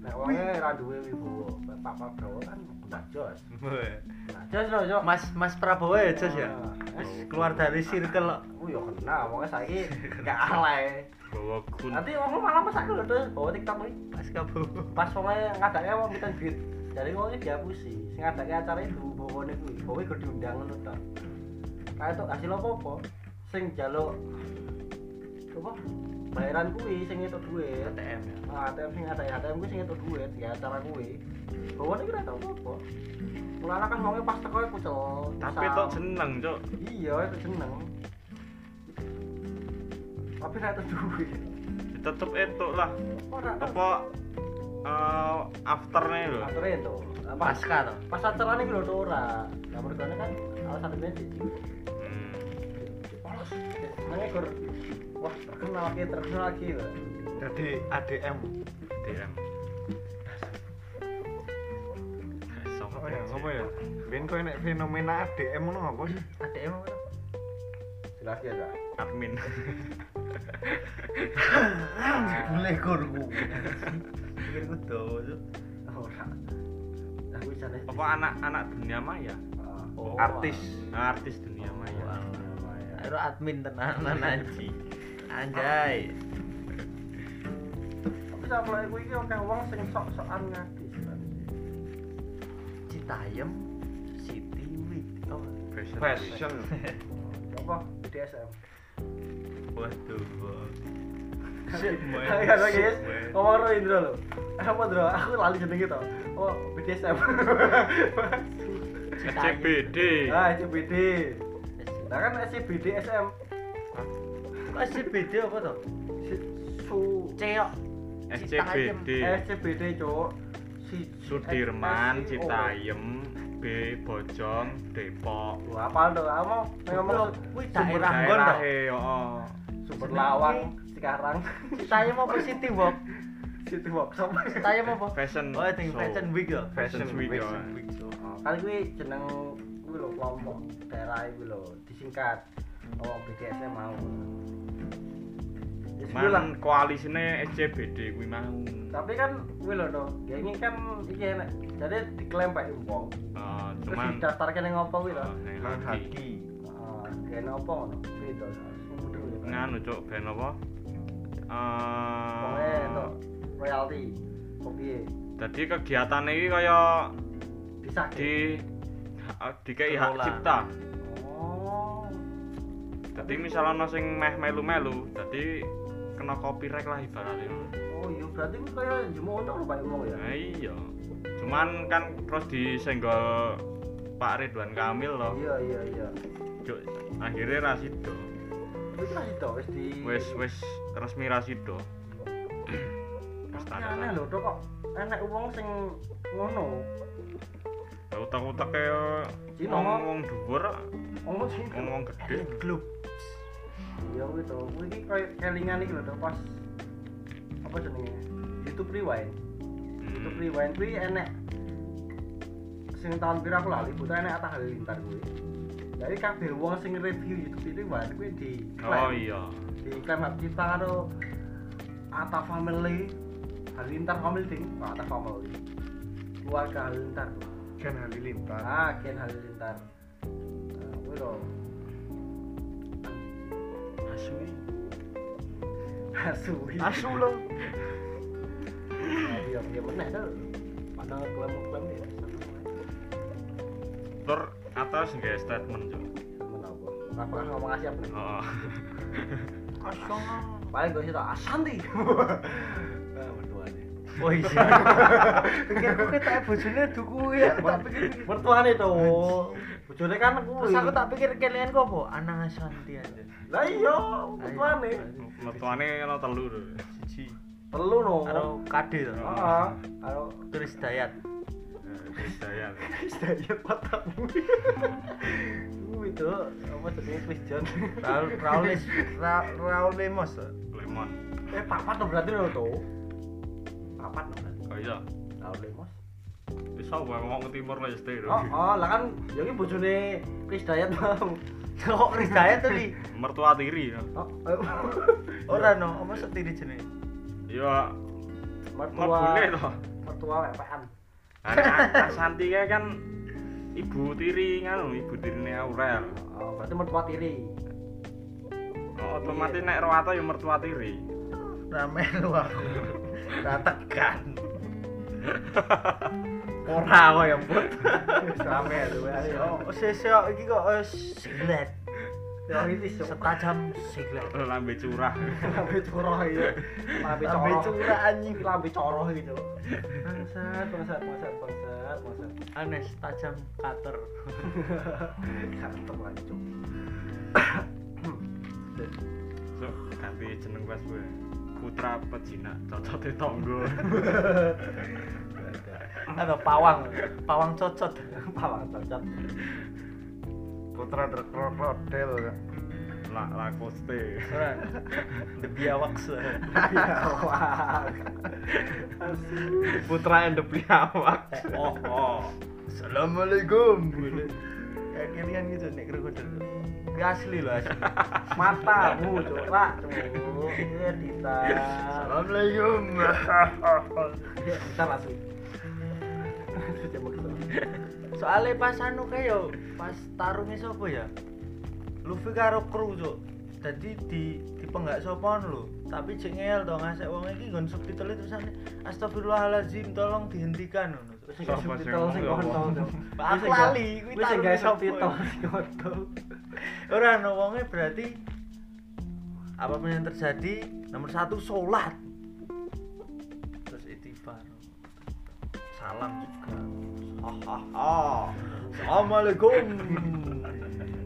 Speaker 1: nek wong e ra duwe wibowo papa Prabowo kan mbah jos Mbah jos lho yo
Speaker 2: Mas Mas Prabowo ya Jos ya. Wis keluar dari circle kok.
Speaker 1: aku yo kenal wong e saiki (laughs) gak alay
Speaker 3: Bawa kun.
Speaker 1: nanti wong lu malah masak lho tuh bawa tiktok iki
Speaker 2: Mas Prabowo.
Speaker 1: pas wongnya ngadaknya wong minta duit jadi wongnya dihapusi sing ngadaknya acara itu bawone kuwi bawa iku diundang ngono ta kae tok hasil apa-apa sing jaluk apa bayaran kuwi sing itu duit
Speaker 2: ATM ya.
Speaker 1: nah ATM sing ada ATM kuwi sing itu duit ya acara kuwi bawone kuwi ora tau apa Mulana kan wongnya pas teko iku cel
Speaker 3: Tapi
Speaker 1: kesal.
Speaker 3: tok seneng, Cuk.
Speaker 1: iya itu jeneng tapi ora itu duit
Speaker 3: Tetep etuk lah.
Speaker 1: ora tau
Speaker 3: Apa eh afternya lho.
Speaker 1: aturnya itu apa
Speaker 2: Pasca to.
Speaker 1: pas acaranya gitu tuh ora nah menurut gue kan alasan ini jadi
Speaker 3: Hmm.
Speaker 1: polos makanya gue wah terkenal lagi terkenal lagi loh
Speaker 4: jadi ADM
Speaker 3: DM.
Speaker 4: apa ya apa ya Ben kau enak fenomena ADM ngono apa sih
Speaker 2: ATM apa?
Speaker 1: jelas ya dah
Speaker 3: Admin. (laughs)
Speaker 4: boleh kurku
Speaker 2: Pikir ku dowo.
Speaker 1: ora aku sana
Speaker 3: Apa anak-anak dunia maya?
Speaker 1: oh,
Speaker 3: Artis. Artis dunia maya.
Speaker 2: Ayo admin tenanan anji. Anjay.
Speaker 1: tapi sama mulai gue ini oke uang sing sok sokan ngadis kan.
Speaker 2: Citayam City Week. Oh,
Speaker 3: Fashion.
Speaker 4: fashion
Speaker 1: apa BDSM
Speaker 3: Waduh.
Speaker 1: Gak ada guys, ngomong roh Indro lo Apa Indro? Aku lali jeneng gitu Oh, BDSM
Speaker 3: CBD.
Speaker 1: Ah, SCBD Nah kan SCBD SM
Speaker 2: Kok SCBD apa to?
Speaker 1: Su
Speaker 2: Ceok.
Speaker 3: SCBD.
Speaker 1: SCBD cok si
Speaker 2: Oh.
Speaker 3: Sudirman,
Speaker 1: SCO.
Speaker 3: Citayem, B Bojong, Depok.
Speaker 1: Wah, apa tuh kamu Yang ngomong
Speaker 2: kuwi
Speaker 3: Sumber
Speaker 2: daerah nggon to.
Speaker 3: daerahe, heeh.
Speaker 1: super
Speaker 2: Seneng
Speaker 1: lawang sekarang
Speaker 2: Citayam apa City Walk?
Speaker 1: (laughs) situ workshop
Speaker 2: Citayam apa?
Speaker 3: Fashion.
Speaker 2: Oh, I think
Speaker 3: show. Oh.
Speaker 2: Fashion Week to.
Speaker 3: Fashion Week. ya.
Speaker 1: kan gue jeneng gue lo kelompok daerah gue lo disingkat oh BDSM mau Ya, sudah lah.
Speaker 3: Man koalisine SCBD kuwi mau.
Speaker 1: tapi kan gue lo tuh ya ini kan iki enak jadi diklaim pak impong
Speaker 3: Eh,
Speaker 1: terus
Speaker 3: cuman
Speaker 1: didaftarkan yang ngopo gue lo
Speaker 3: eh, neng
Speaker 4: nang
Speaker 3: hati.
Speaker 4: hati
Speaker 1: kayak ngopo no gitu mudah ya
Speaker 3: nganu cuk ben apa?
Speaker 1: pokoknya itu
Speaker 3: Eh,
Speaker 1: royalty kopi
Speaker 3: dadi kegiatan iki kaya
Speaker 1: bisa
Speaker 3: di dikei hak
Speaker 2: Kelola.
Speaker 3: cipta.
Speaker 1: oh
Speaker 3: Dadi misalnya ana sing meh melu-melu, dadi kena copyright lah ibaratnya.
Speaker 1: oh iya berarti gue kayak jemur untuk lo pak impong ya
Speaker 3: Nah, iya. Cuman kan terus disenggol Pak Ridwan Kamil loh.
Speaker 1: iya iya iya
Speaker 3: Cuk, akhirnya Rasido.
Speaker 1: wis lah itu wis di
Speaker 3: Wis wis resmi Rasido. wis
Speaker 1: Tapi
Speaker 3: tanda
Speaker 1: aneh
Speaker 3: tangan.
Speaker 1: lho Dok, kok enek wong sing ngono
Speaker 3: Utak-utak kayak
Speaker 1: Cina.
Speaker 3: wong wong dhuwur,
Speaker 1: ngomong sing
Speaker 3: wong wong gede.
Speaker 2: Gloop.
Speaker 1: ya kuwi to kuwi iki koyo kelingan iki lho Dok, pas apa jenenge YouTube Rewind YouTube
Speaker 3: Hmm.
Speaker 1: Rewind kuwi enek sing tahun pira aku lali buta enek Atta Halilintar kuwi jadi kabeh wong sing review YouTube Rewind kuwi di
Speaker 3: Oh iya.
Speaker 1: di klaim hak cipta karo Atta Family Halilintar Family ding Atta Family keluarga Halilintar
Speaker 4: kan halilintar
Speaker 1: ah Ken Halilintar Eh, kuwi piro?
Speaker 2: asu
Speaker 1: Asu.
Speaker 2: asu lo
Speaker 1: Nah, Iya, iya meneh to. Padahal klaim-klaim ya.
Speaker 3: Tur atas nggak statement cuk.
Speaker 1: Menapa? Aku kan ngomong Asia bener.
Speaker 3: Oh. (laughs)
Speaker 2: asu
Speaker 1: Paling gue sih tau Ashanti.
Speaker 2: Ah,
Speaker 1: Nah, mertuane.
Speaker 2: oh
Speaker 3: (laughs)
Speaker 2: iya pikirku kita e bojone duku ya
Speaker 3: Iya,
Speaker 2: aku tak pikir
Speaker 1: Mertuane to. Bojone kan kuwi.
Speaker 3: iya.
Speaker 2: terus aku tak pikir kalian kok apa anak asanti aja
Speaker 1: Lah iya, mertuane.
Speaker 3: Metuane ono telu. lho.
Speaker 2: siji
Speaker 1: Telu no.
Speaker 2: karo kade to
Speaker 1: Heeh. Karo
Speaker 2: Chris Dayat
Speaker 3: Daya.
Speaker 1: Istaya matamu. Kuwi to, apa jenenge Chris John?
Speaker 2: Raul Raul Lis- Ra- Raul e Lemos to.
Speaker 3: Lemon.
Speaker 1: Eh, papat to berarti lo to. Papat to berarti.
Speaker 3: Kok iso?
Speaker 1: Tahu deh, Mas.
Speaker 3: Iso wae mau ke timur leste lho.
Speaker 1: Oh, oh, lah kan ya iki bojone Chris Dayat mau.
Speaker 2: kok Chris Dayat to li
Speaker 3: Mertua tiri. ya.
Speaker 1: Oh, ayo.
Speaker 2: ora no apa setiri jenenge
Speaker 3: Iya,
Speaker 1: mertua.
Speaker 3: mlebune to.
Speaker 1: Mertua wepean.
Speaker 3: Ana Santi kae kan ibu tiri nganu, ibu tirine Aurel.
Speaker 1: Oh, berarti mertua tiri.
Speaker 3: Oh, otomatis nek Rowato ya mertua tiri.
Speaker 2: rame lu aku
Speaker 3: (laughs)
Speaker 2: ratakan ora kok ya put
Speaker 1: Wis rame ya tuh. Ayo.
Speaker 2: Oh, sesok iki kok eh, siglet
Speaker 1: Ya ini sok
Speaker 2: setajam siglet
Speaker 3: Lambe curah.
Speaker 1: lambe coroh ya. Lambe
Speaker 2: sampai
Speaker 1: coroh.
Speaker 2: curah anjing
Speaker 1: Lambe coroh gitu. Bangsat, bangsat, bangsat, bangsat, bangsat.
Speaker 2: aneh setajam cutter
Speaker 1: Kantong lagi, Cuk.
Speaker 3: So, ganti jeneng wes gue. Putra Pejina, cocote
Speaker 1: (laughs)
Speaker 3: tonggo.
Speaker 2: ada pawang pawang cocot (laughs)
Speaker 1: Pawang cacat.
Speaker 4: putra terkrokodil
Speaker 3: La Lacoste.
Speaker 2: ora the biawak
Speaker 1: Wah.
Speaker 2: putra and the biawak
Speaker 3: Oh, oh.
Speaker 2: Eh, assalamualaikum kayak kalian gitu nek krokodil Ki asli loh asli
Speaker 1: Matamu, Cuk. Lah, Cuk. Iya, Dita.
Speaker 4: Assalamualaikum
Speaker 1: Ya, kita langsung Coba kita.
Speaker 2: soalnya pas anu kayak yo pas tarungnya sopo ya Luffy karo kru cuk jadi di di penggak sopan lo tapi cengel to ngasek wong iki nggon subtitle e tulisane astagfirullahalazim tolong dihentikan ngono Cuk.
Speaker 1: Sing gak
Speaker 3: Sopo sing
Speaker 1: subtitle sing
Speaker 3: ngomong?
Speaker 1: kontol tuh.
Speaker 2: Pak, aku lali, kuwi
Speaker 1: Wis sing
Speaker 2: tarung
Speaker 1: gak
Speaker 2: sopo
Speaker 1: subtitle
Speaker 2: ya? (laughs)
Speaker 1: sing kontol.
Speaker 2: ora no wonge berarti apapun yang terjadi nomor satu sholat terus istighfar salam juga hahaha (laughs) assalamualaikum (laughs)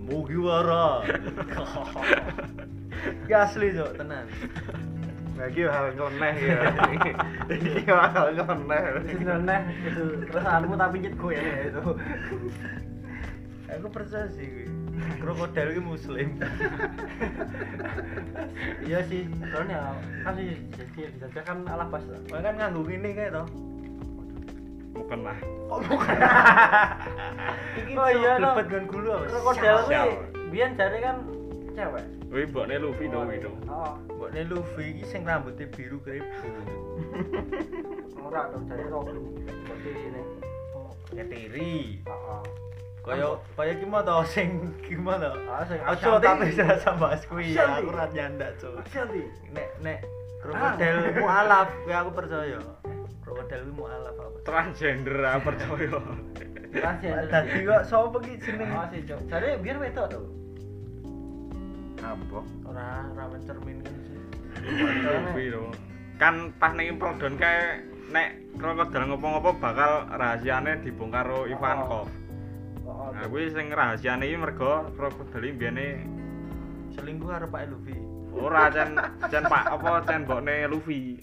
Speaker 2: mugiwara Ki asli cok tenan
Speaker 4: Nah, iki hal nyeleneh ya. Iki hal nyeleneh.
Speaker 1: Wis nyeleneh itu perasaanmu gitu. tapi nyet gue ya itu.
Speaker 2: aku percaya sih gue krokodil ki muslim iya sih
Speaker 1: Soalnya kan sih jadi dijajah kan ala pas.
Speaker 2: bahkan nganggo ngene kae to
Speaker 3: Bukan lah.
Speaker 2: kok bukan iki
Speaker 1: Oh
Speaker 2: oh
Speaker 1: iya,
Speaker 2: iya
Speaker 1: no.
Speaker 2: lebet kan gulu apa
Speaker 1: Krokodil kuwi
Speaker 3: Sial.
Speaker 1: biyen jare kan cewek.
Speaker 3: Wih, mbokne Luffy to kuwi to.
Speaker 1: Oh,
Speaker 2: mbokne Luffy iki sing rambutnya biru keribu
Speaker 1: ora dong jare Robin. Seperti sini. Ah,
Speaker 2: ketiri
Speaker 1: Heeh.
Speaker 2: kaya kaya ki mau to sing gimana
Speaker 1: Ah, sing
Speaker 2: ojo tapi rasa bahas kuwi ya
Speaker 1: Ashanti.
Speaker 2: aku ra nyanda cuy
Speaker 1: Ganti.
Speaker 2: nek nek krokodil
Speaker 1: Ah.
Speaker 2: mualaf kuwi aku percaya krokodil kuwi mualaf apa
Speaker 3: Transgender ah, percaya.
Speaker 1: Kasih.
Speaker 2: tadi kok sapa ki jeneng
Speaker 1: Oh, sih, Cuk. Jare biyen wedok tuh.
Speaker 4: Apa?
Speaker 2: ora ora mencerminkan sih
Speaker 3: Luffy to. Kan pas ning Improdon kae nek krokodil ngopo-ngopo bakal rahasiane dibongkar karo Ivankov.
Speaker 1: Oh,
Speaker 3: Nah, kuwi sing rahasiane iki mergo krokodil iki mbiyene
Speaker 2: selingkuh karo Pak Luffy
Speaker 3: ora cen cen Pak apa cen mbokne Luffy.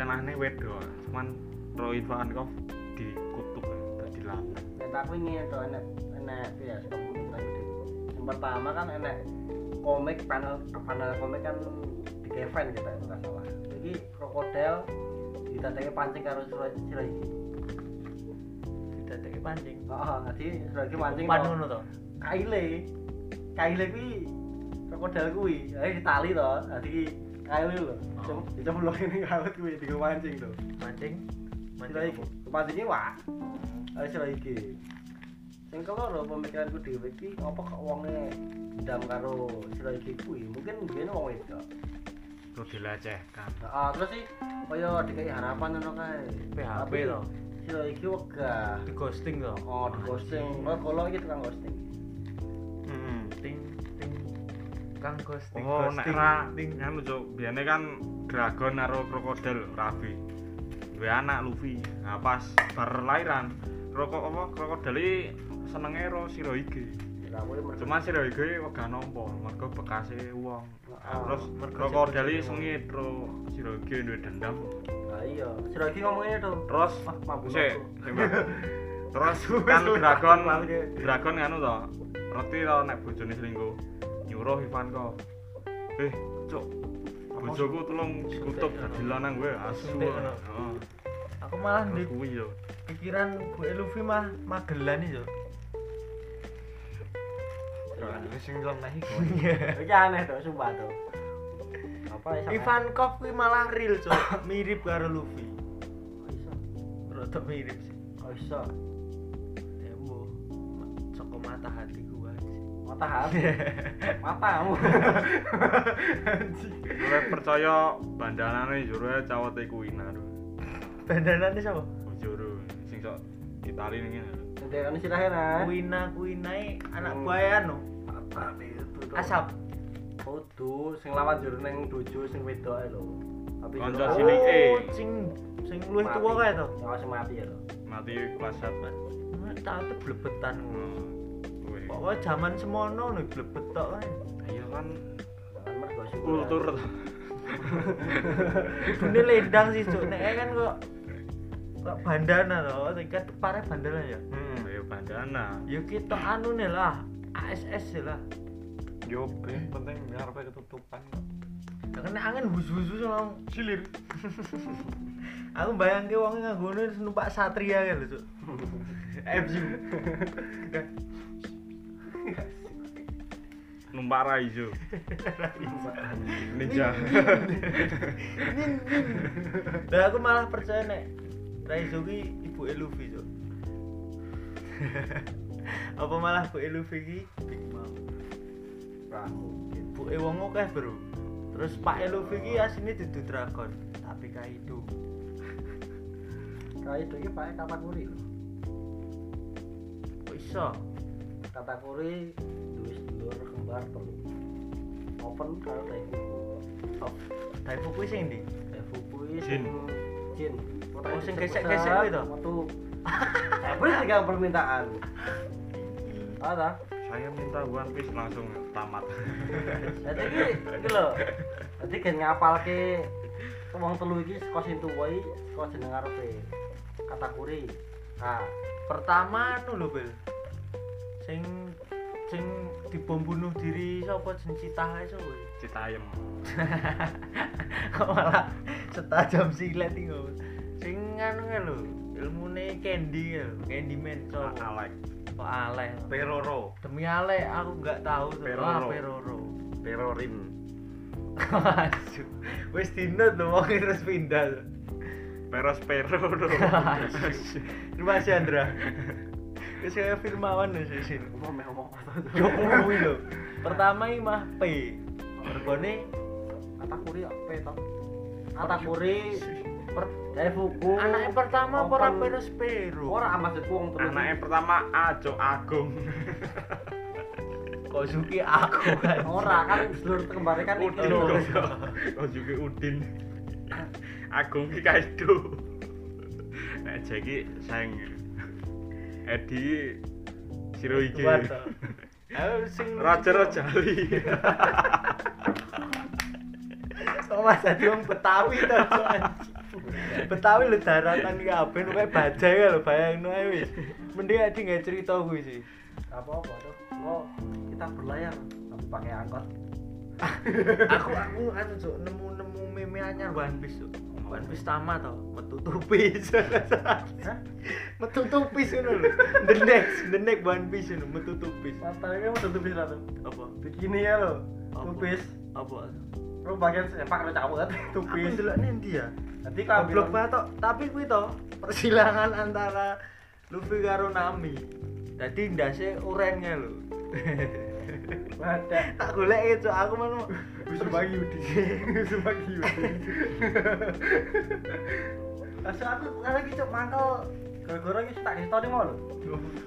Speaker 3: Cenahne wedo, cuman Roy Ivankov dikutuk tadi lama.
Speaker 1: Nek aku ingin itu enak enak itu ya stop komentar gede. Yang pertama kan enak komik panel panel komik kan di Kevin kita itu nggak salah. Jadi krokodil didatangi pancing karo Shiro- Shirohige.
Speaker 2: didadekke pancing
Speaker 1: Heeh, nanti Shirohige oh, mancing
Speaker 2: umpan
Speaker 1: no.
Speaker 2: ngono to
Speaker 1: Kaile. Kaile kuwi krokodil kuwi, ae ditali to. Dadi Kaile lho. Cuma diceblok ini kalut kuwi digo mancing to.
Speaker 2: mancing mancing
Speaker 1: Shirohige. Mancingnya wah. Ae Shirohige. yang keloro pemikiranku dhewe iki apa kok wonge dendam karo sira iki kuwi mungkin biyen wong wedok
Speaker 3: Terus dilecehkan.
Speaker 1: nah, ah, terus sih kaya dikai harapan ngono kae
Speaker 2: PHP
Speaker 1: Tapi
Speaker 2: toh.
Speaker 1: sira iki wegah
Speaker 2: di ghosting toh
Speaker 1: oh di ghosting kalau kalau iki tukang ghosting
Speaker 3: Heeh.
Speaker 4: Hmm.
Speaker 2: ting ting kang ghosting
Speaker 3: Oh, nek
Speaker 2: ghosting
Speaker 3: ra
Speaker 2: ting
Speaker 3: nganu cuk, biyane kan dragon karo krokodil Rabi. Duwe anak Luffy. Nah, pas bar lairan, rokok apa krokodil iki senenge ro Shirohige.
Speaker 1: ya kowe mergo
Speaker 3: Cuma Shirohige wegah nampa mergo bekase wong. Nah,
Speaker 1: Oh,
Speaker 3: terus
Speaker 2: mergo
Speaker 3: krokodil
Speaker 2: jenenge wong.
Speaker 3: iki sengit ro Shirohige duwe dendam.
Speaker 1: ah iya sira iki ngomongnya tuh
Speaker 3: Terus
Speaker 1: Wah, mabuk
Speaker 3: Sik,
Speaker 1: aku.
Speaker 3: sik,
Speaker 4: (laughs)
Speaker 3: Mbak. Terus kan dragon
Speaker 2: mabuk dia.
Speaker 3: dragon nganu to. Reti to nek bojone selingkuh. Nyuruh Ivan kok. Eh, cuk. Bojoku tolong dikutuk dadi lanang gue asu.
Speaker 2: Suntik, no.
Speaker 3: Heeh.
Speaker 2: aku malah
Speaker 3: Terus
Speaker 2: di
Speaker 3: kuwi yo.
Speaker 2: pikiran gue Luffy mah magelan itu Iya.
Speaker 4: Ini sing lemehi kok.
Speaker 1: iki aneh tuh sumpah tuh apa iso
Speaker 2: Ivan Kov kuwi malah real cok mirip karo Luffy
Speaker 1: Kok Oh, iso
Speaker 2: rada mirip sih
Speaker 1: Kok iso
Speaker 2: embo saka mata hati gua aja
Speaker 1: mata hati matamu
Speaker 3: Gue percaya bandanane juru cawete kuwi naru.
Speaker 2: bandanane sapa
Speaker 3: Juru sing sok Itali ning ngene.
Speaker 1: Jendekan sirahe nah.
Speaker 2: Kuina Kuinae anak
Speaker 1: Hmm.
Speaker 2: buaya anu. no asap
Speaker 1: Kudu sing lawan jero ning dojo sing wedok ae lho. Tapi
Speaker 3: Kanca
Speaker 1: jero-
Speaker 3: cilik. Silike.
Speaker 2: Oh, sing sing luwih
Speaker 1: Mati.
Speaker 2: tuwa kae to
Speaker 1: Yang langsung mati ya lho.
Speaker 3: Mati kelas 1.
Speaker 2: tak blebetan ngono
Speaker 3: Hmm. Kuwi.
Speaker 2: pokoknya zaman semono nih blebet tok kan
Speaker 3: Ayo kan
Speaker 1: Jangan mergo syukur.
Speaker 3: kultur to.
Speaker 2: kudune lendang sih cuk nek kan kok kok bandana to kan tepare bandana ya
Speaker 3: Hmm, ayo bandana.
Speaker 2: ya kita anu nih lah ASS sih ya lah
Speaker 4: Yo ben penting ngarepe ketutupan kok.
Speaker 2: Lah, kena angin hus-husus langsung
Speaker 4: Silir.
Speaker 2: aku bayangke wong nganggo ngono numpak satria ya lho cuk FU
Speaker 3: Numpak Raizo. Ninja.
Speaker 2: dan aku malah percaya nek Raizo ki ibu Luffy cuk apa malah bu Luffy ki Big Mom
Speaker 1: Nah, mungkin.
Speaker 2: bu wong akeh bro terus Pak Luffy ki asline dudu dragon tapi kaido
Speaker 1: Kae itu iki pakai katakuri lho.
Speaker 2: kok iso
Speaker 1: Katakuri duwe sedulur kembar telu. Open gitu. karo Daifuku.
Speaker 2: Daifu kuwi sing ndi
Speaker 1: Daifuku iki
Speaker 3: Jin.
Speaker 1: Jin.
Speaker 2: Oh, sing gesek-gesek kuwi to?
Speaker 1: Metu. Tapi tiga permintaan. Ada.
Speaker 3: (laughs) Saya minta One Piece langsung tamat.
Speaker 1: Nah, Jadi iki iki lho. Jadi gen ngapalke wong telu iki saka sing tuwa iki saka jeneng arepe. Katakuri. Nah,
Speaker 2: pertama anu lho Bel sing sing dibom bunuh diri sapa jeneng citah ae sapa ya?
Speaker 3: Citayem.
Speaker 2: (laughs) kok malah setajam silet iki kok. sing anu kae lho ilmune candy ya lho candyman
Speaker 3: Nah,
Speaker 2: sapa
Speaker 3: Alek.
Speaker 2: kok aleh
Speaker 4: Peroro,
Speaker 2: demi aleh aku nggak tahu tuh
Speaker 3: Peroro.
Speaker 2: Ah, peroro
Speaker 4: terorim.
Speaker 2: Asu. wis dinut lho wong terus pindah lho.
Speaker 3: Peros Pero.
Speaker 2: Asu. terima kasih Andra wis kayak filmawan lho sih sini
Speaker 1: ngomong ngomong
Speaker 2: Jokowi lho. Pertama iki mah P. Regane
Speaker 1: Katakuri apa to? Katakuri per Daifuku.
Speaker 2: anake pertama apa ora
Speaker 1: Open-
Speaker 2: Peros Peru.
Speaker 1: Ora ah, maksudku wong telu. iki.
Speaker 3: Anaknya pertama Ajo Agung.
Speaker 2: Kozuki aku kan.
Speaker 1: ora kan sedulur kembare kan iki
Speaker 3: Udin
Speaker 1: lho.
Speaker 3: goblok. Oh juga Udin. Agung ki kaido. Nek jeki sayang. Edi Siroike.
Speaker 2: Luar to. Ayo sing
Speaker 3: Roger Rojali.
Speaker 2: Sama dadi wong Betawi to. Cok, anjing. Betawi lho daratan iki aben kok bajai kae lho bayangno ae wis. Mending ade nggak cerita kuwi sih.
Speaker 1: Apa-apa tuh. Oh, kita berlayar tapi pakai angkot.
Speaker 2: Aku aku anu cuk nemu-nemu meme anyar One Piece cuk. One Piece tamat to, metutupi.
Speaker 1: Hah?
Speaker 2: metutupis ngono lho. The next, the next One Piece ngono metutupis.
Speaker 1: Matanya mau tutup bisa tuh.
Speaker 2: Apa?
Speaker 1: Bikini ya lo.
Speaker 2: Apa?
Speaker 1: Tupis.
Speaker 2: Apa?
Speaker 1: Lu bagian sempak lu cawet.
Speaker 2: Aku
Speaker 1: Tupis.
Speaker 2: delokne endi ya?
Speaker 1: Nanti kalau bilang
Speaker 2: Goblok banget tok. Tapi kuwi to, persilangan antara Luffy karo Nami. Dadi ndase oranye lho. (laughs)
Speaker 1: Wadah.
Speaker 2: tak golek itu aku mau
Speaker 1: Wis bagi Yudi. Wis bagi Yudi. Asa aku kali iki cok mangkel gara-gara iki tak ditoni mau lho.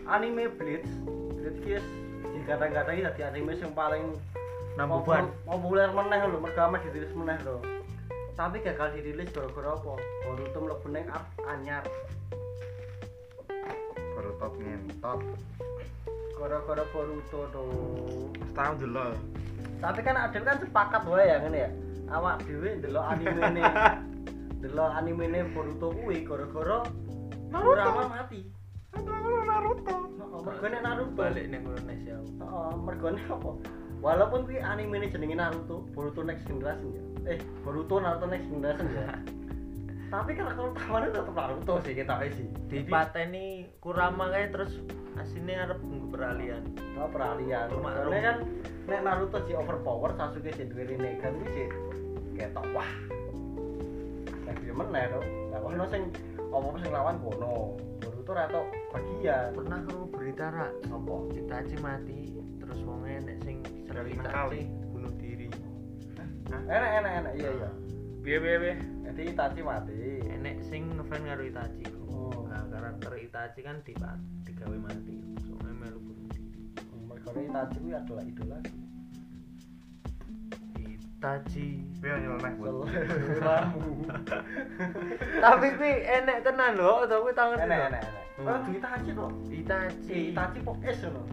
Speaker 1: Anime Blitz. Blitz iki dikata-kata iki dadi anime sing paling
Speaker 2: nambuban.
Speaker 1: popul- populer meneh lho, mergo ame dirilis meneh lho. Tapi gagal dirilis gara-gara apa? Boruto mlebu ning up anyar.
Speaker 4: baru top ngentot
Speaker 1: Gara-gara Boruto tuh.
Speaker 3: setahun dulu
Speaker 1: tapi kan ada kan sepakat wae ya ngene ya awak dhewe ndelok animene ndelok animene Boruto kuwi gara-gara Kurama mati Naruto mergo nek Naruto
Speaker 2: balik ning kono sih aku.
Speaker 1: heeh mergo nek apa walaupun kuwi animene jenenge Naruto Boruto Next Generation ya eh Boruto Naruto Next Generation ya
Speaker 2: (laughs)
Speaker 1: tapi karakter utamanya tetap Naruto sih kita wis sih
Speaker 2: Dipateni Kurama kae terus asine arep nggo peralihan.
Speaker 1: Oh, peralihan.
Speaker 2: Rumah
Speaker 1: Karena
Speaker 2: rumah.
Speaker 1: kan nek Naruto si overpower Sasuke si duwe Rinnegan kuwi si ketok wah. Nek dia meneh to. Lah ono sing apa sing lawan kono. Boruto ra tok bagian.
Speaker 2: Pernah aku berita ra
Speaker 1: Apa?
Speaker 2: Itachi mati terus wonge nek sing
Speaker 3: Dari
Speaker 2: sering
Speaker 3: nakal.
Speaker 2: Itachi bunuh diri.
Speaker 1: Enak enak enak iya iya.
Speaker 3: biye biye biye
Speaker 1: Jadi Itachi mati.
Speaker 2: Enek sing ngefan karo Itachi.
Speaker 1: Oh.
Speaker 2: Nah, karakter Itachi kan di digawe mati. Soalnya melu bunuh diri.
Speaker 1: Mergo Itachi kuwi adalah idola.
Speaker 2: Itachi.
Speaker 4: tapi yang nyeleneh buat
Speaker 1: Selamu.
Speaker 2: Tapi kuwi enek tenan lho, to kuwi tangan
Speaker 1: Enak enak enak. Oh, duwe Itachi to.
Speaker 2: Itachi.
Speaker 1: Si Itachi pok es ngono.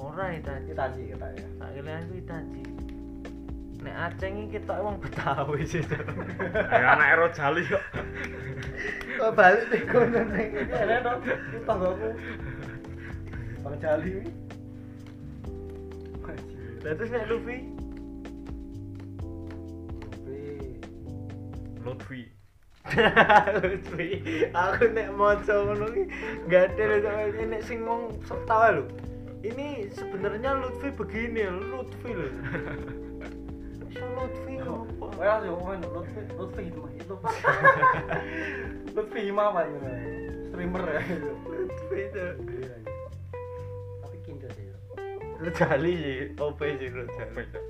Speaker 2: Ora Itachi.
Speaker 1: Itachi kita ya.
Speaker 2: Tak kira aku Itachi. Nek Aceh iki ketok wong Betawi sih.
Speaker 3: ayo anak ero jali Eh, kok
Speaker 2: Kok balik ning kono ning.
Speaker 1: Iki enak to. Iki tanggaku. Bang Jali. kuwi.
Speaker 2: Lah terus nek Luffy (laughs)
Speaker 3: Lutfi
Speaker 2: Lutfi aku nek maca ngono ki gade lho sampe ini nek sing wong sok tawa lho ini sebenarnya Lutfi begini Lutfi lho Iso Lutfi apa
Speaker 1: Gue langsung komen Lutfi Lutfi itu itu Lutfi Himawan gitu. streamer ya gitu.
Speaker 2: Lutfi itu
Speaker 1: tapi kinder sih gitu.
Speaker 2: lu jali sih OP sih lu jali
Speaker 3: beda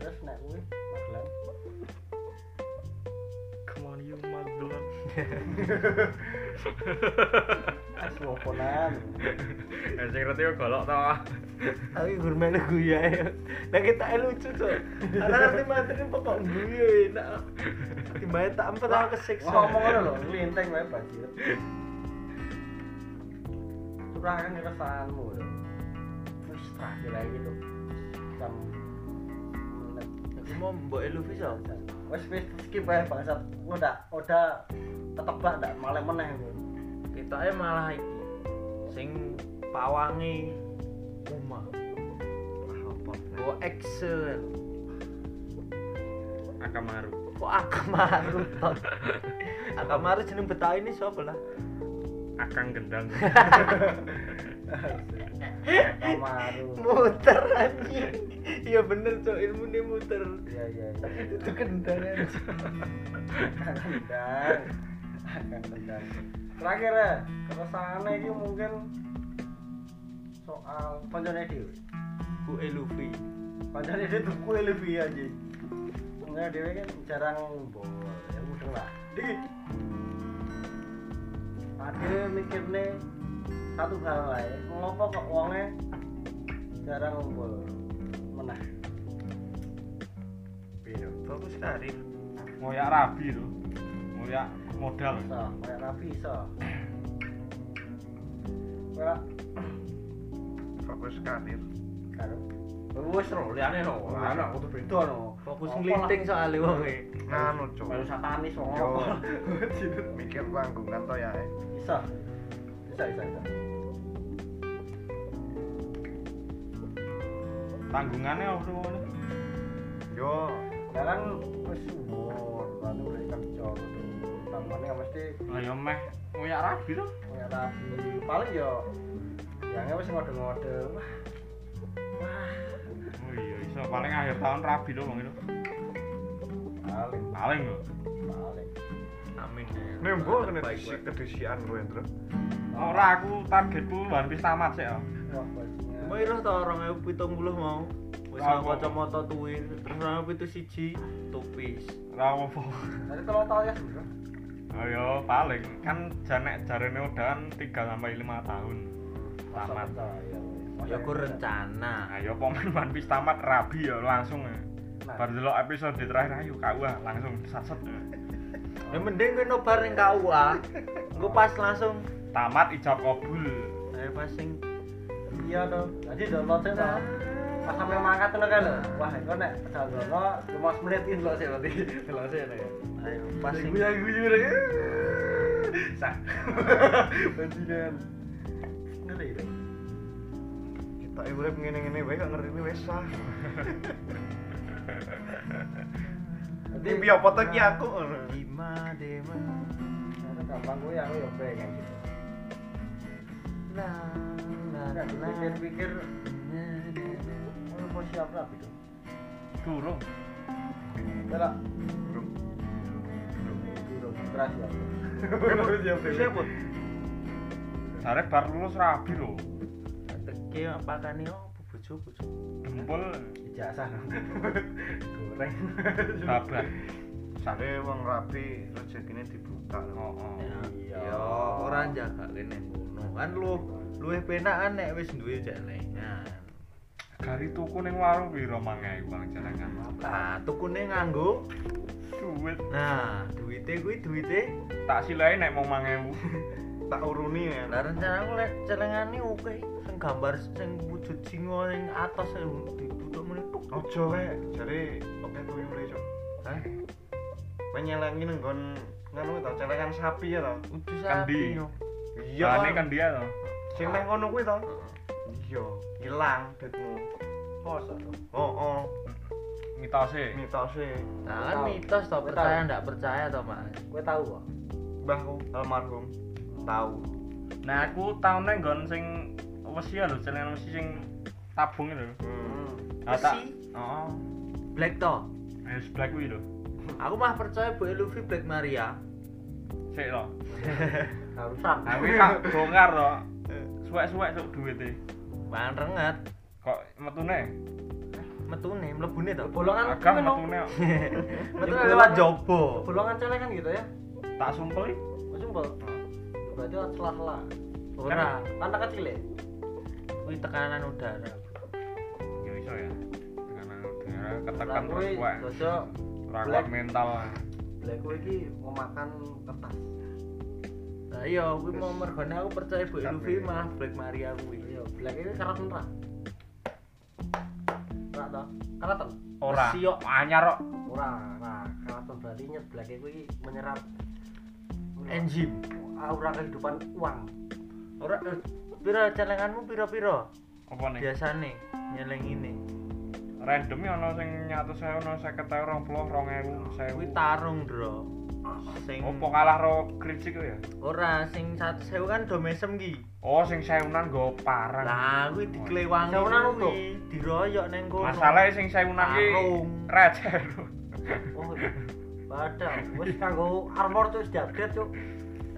Speaker 1: terus nek gue Magelang
Speaker 3: come on you magelang
Speaker 1: Suwoponan
Speaker 3: eh sing reti kok golok to
Speaker 2: tapi gurmane guya ya nah kita lucu kan tuh karena nanti materi pokok guya enak timbang tak empat aku kesiksa
Speaker 1: Wah, ngomong ngono lho linteng wae banjir curahkan keresahanmu lho wis terakhir lagi gitu jam menit
Speaker 2: aku mau mbok Luffy siapa
Speaker 1: wes wes skip aja bangsat udah udah ketebak ndak malah meneh gue
Speaker 2: ketoknya malah iki sing pawangi Uma Go Excel
Speaker 3: akamaru
Speaker 2: kok Akamaru tot Akamaru jeneng Betawi ini siapa lah
Speaker 3: akang gendang
Speaker 1: kamaru
Speaker 2: muter anjing iya bener cok ilmu ini muter
Speaker 1: iya iya iya
Speaker 2: itu kendang anjing
Speaker 1: tendang akan tendang terakhir ya keresahannya itu mungkin soal koncone dhewe
Speaker 2: Bu E Luffy
Speaker 1: koncone dhewe tuku lebih aja koncone dhewe kan jarang bol ya udah lah di akhirnya mikirnya satu hal lah ya ngopo kok uangnya jarang bol menah
Speaker 4: Iya.
Speaker 1: Biro.
Speaker 2: bagus sekali
Speaker 3: ngoyak rabi lho ngoyak modal
Speaker 1: iso, kayak rapi iso. Ora
Speaker 4: fokus karir
Speaker 1: karo. Wes ro, liyane ro. Ora ana kudu beda no.
Speaker 2: fokus
Speaker 1: Apa
Speaker 2: ngeliting soalnya wong e.
Speaker 4: nganu
Speaker 1: lah,
Speaker 4: cok
Speaker 1: Melu satanis wong (laughs)
Speaker 4: Yo.
Speaker 1: apa.
Speaker 4: mikir panggungan to ya eh.
Speaker 1: Iso. Iso iso iso.
Speaker 3: tanggungannya apa ngono
Speaker 4: yo
Speaker 1: Sekarang wis umur, kan wis kerja gitu. Tanggane mesti
Speaker 3: lah ya meh ngoyak rabi to
Speaker 1: kayak rapi. Paling yo yange wis ngode-ngode. Wah. Wah.
Speaker 3: oh iya iso paling akhir tahun rabi lho wong itu
Speaker 1: Paling
Speaker 3: paling lho
Speaker 1: paling
Speaker 2: amin
Speaker 4: nembo kena disik kedisian gue Ndra.
Speaker 3: Ora aku targetku One Piece tamat sih. oh.
Speaker 1: Wah, bajingan.
Speaker 2: Mau iroh to 2070 e, mau. Wis
Speaker 3: Lah,
Speaker 2: nang
Speaker 3: kok.
Speaker 2: kacamata tuwir, terus nang pitu siji topis.
Speaker 3: Ora apa.
Speaker 1: Tadi kalau tahu ya sebenarnya.
Speaker 3: Ayo Oh paling kan janek jarene udahan 3 sampai 5 tahun.
Speaker 1: Masa
Speaker 3: Tamat.
Speaker 1: percaya, weh. Masa
Speaker 2: Ya ku
Speaker 1: percaya.
Speaker 2: rencana.
Speaker 3: Ayo pomen One Piece tamat rabi ya langsung. ya.
Speaker 1: Nah.
Speaker 3: Baru delok episode terakhir ayo KUA langsung saset. ya.
Speaker 2: Ya mending kowe nobar ning KUA. Engko pas langsung
Speaker 3: Tamat ijab kabul.
Speaker 2: ayo pas sing
Speaker 1: Iya dong. Jadi download sih Pak. Pas sampai mangkat tuh lo kan lo. Wah, itu nek jalan download cuma semenitin lo sih berarti. Lo sih nek.
Speaker 2: ayo pas sing
Speaker 1: Gue yang gue juga. Sah. (laughs) Bajingan. Ngeri dong.
Speaker 4: kita urip ngene-ngene wae gak ngerti wis sah
Speaker 1: Jadi
Speaker 4: mimpi apa to ki aku ngono.
Speaker 2: lima dema.
Speaker 1: Karena gampang gue ya, gue ya pengen gitu.
Speaker 2: La la la. Nah,
Speaker 1: Nggak dipikir-pikir, gue mau siap rapi Ya, dong.
Speaker 3: Durung.
Speaker 1: Udah lah. Durung. Keras ya. Baru siap deh.
Speaker 2: Siapa?
Speaker 3: Jarek bar lulus rabi lho.
Speaker 2: Teki pakane opo bojo-bojo.
Speaker 3: Dempul
Speaker 1: Ijazah. (laughs) Goreng.
Speaker 3: babat.
Speaker 4: Sare wong rapi rezekine dibuka lho.
Speaker 3: Oh,
Speaker 2: Ya,
Speaker 1: Iya.
Speaker 2: Ya, ora jaga kene ngono. Kan lu luwih penak kan nek wis duwe celengan.
Speaker 3: Gari tuku ning warung piro mangae bang jenengan?
Speaker 2: Lah, tukune nganggo
Speaker 3: Duit
Speaker 2: nah, duwite kuwi duwite.
Speaker 3: tak silai nek mau 1000.
Speaker 4: Tak uruni ya.
Speaker 2: Lah rencana aku lek celengane oke, sing gambar sing wujud singa sing atas sing dibutuh muni tuk.
Speaker 4: Ojo wae jare oke tuyure cok.
Speaker 2: Hah?
Speaker 4: Penyelangi nang nggon nganu to celengan sapi ya to.
Speaker 2: Kudu
Speaker 3: Kandi.
Speaker 2: sapi. yo.
Speaker 4: Iya.
Speaker 3: Bahane kan dia to.
Speaker 4: sing nang ngono kuwi to. Iya, ilang duitmu.
Speaker 1: Poso dong.
Speaker 4: Oh, oh, e.
Speaker 3: Mitose.
Speaker 4: mitose
Speaker 2: Nah, kan
Speaker 1: Tahu.
Speaker 2: mitos to
Speaker 1: Tahu.
Speaker 2: percaya ndak percaya to, Mas.
Speaker 1: Gue tahu kok.
Speaker 4: mbahku almarhum tahu.
Speaker 3: Nah, aku taune nggon sing wesi ya lho, celengan wesi sing tabung lho.
Speaker 2: Hmm.
Speaker 3: Nah,
Speaker 2: Wesi?
Speaker 3: tak. Oh.
Speaker 2: Black to.
Speaker 3: Wes black kuwi lho.
Speaker 2: Aku mah percaya Bu Luffy Black Maria.
Speaker 3: Sik
Speaker 2: (laughs)
Speaker 3: to.
Speaker 1: Harusan.
Speaker 3: Nah, kuwi tak bongkar to.
Speaker 2: Eh.
Speaker 3: Suwek-suwek sok duwite.
Speaker 2: Bahan renget
Speaker 3: Kok metune?
Speaker 2: metune mlebune to.
Speaker 1: Bolongan kuwi,
Speaker 3: Agak
Speaker 1: no.
Speaker 3: metune kok.
Speaker 2: Metune lewat jobo.
Speaker 1: Bolongan celengan gitu ya.
Speaker 3: tak sumpel iki.
Speaker 1: Gue sumpel. Berarti ada celah-celah.
Speaker 2: Ora,
Speaker 1: Anak kecil ya.
Speaker 2: kuwi tekanan udara.
Speaker 3: Ya iso ya. Tekanan udara
Speaker 1: Lah
Speaker 3: anu, ketekan
Speaker 1: gue
Speaker 3: terus wae.
Speaker 1: cocok.
Speaker 3: Ora
Speaker 1: black.
Speaker 3: kuat mental.
Speaker 1: Lah gue iki mau makan kertas.
Speaker 2: Lah iya, kuwi mau mergone aku percaya Bu
Speaker 4: Tapi-
Speaker 2: Luffy malah Black Maria kuwi.
Speaker 1: Iya, black ini karat merah. Ora toh? Karatan.
Speaker 3: Ora.
Speaker 2: Wesi kok.
Speaker 3: anyar kok.
Speaker 1: Ora, nah karatan berarti nyet black iku iki menyerap
Speaker 2: Enzim.
Speaker 1: aura kehidupan uang.
Speaker 2: Ora eh, pira celenganmu pira-pira?
Speaker 3: Apa nih?
Speaker 2: Biasane nyeleng ini.
Speaker 3: random ya ono sing 100.000 ono 50.000 20.000
Speaker 2: Kuwi
Speaker 3: 1000
Speaker 2: tarung, Bro.
Speaker 4: Ah,
Speaker 2: Sing
Speaker 3: opo kalah ro kricik ku ya
Speaker 2: ora sing 100.000 kan do mesem ki.
Speaker 3: oh sing sewunan nggo parang
Speaker 2: Lah kuwi diklewangi.
Speaker 1: Sewunan
Speaker 2: kuwi,
Speaker 1: untuk?
Speaker 2: diroyok ning kono.
Speaker 3: masalahe sing
Speaker 2: Nah,
Speaker 3: sewunan ki
Speaker 4: (laughs)
Speaker 2: Tarung.
Speaker 3: (laughs) receh
Speaker 1: Oh, padahal wis kanggo armor tuh sudah upgrade cuk.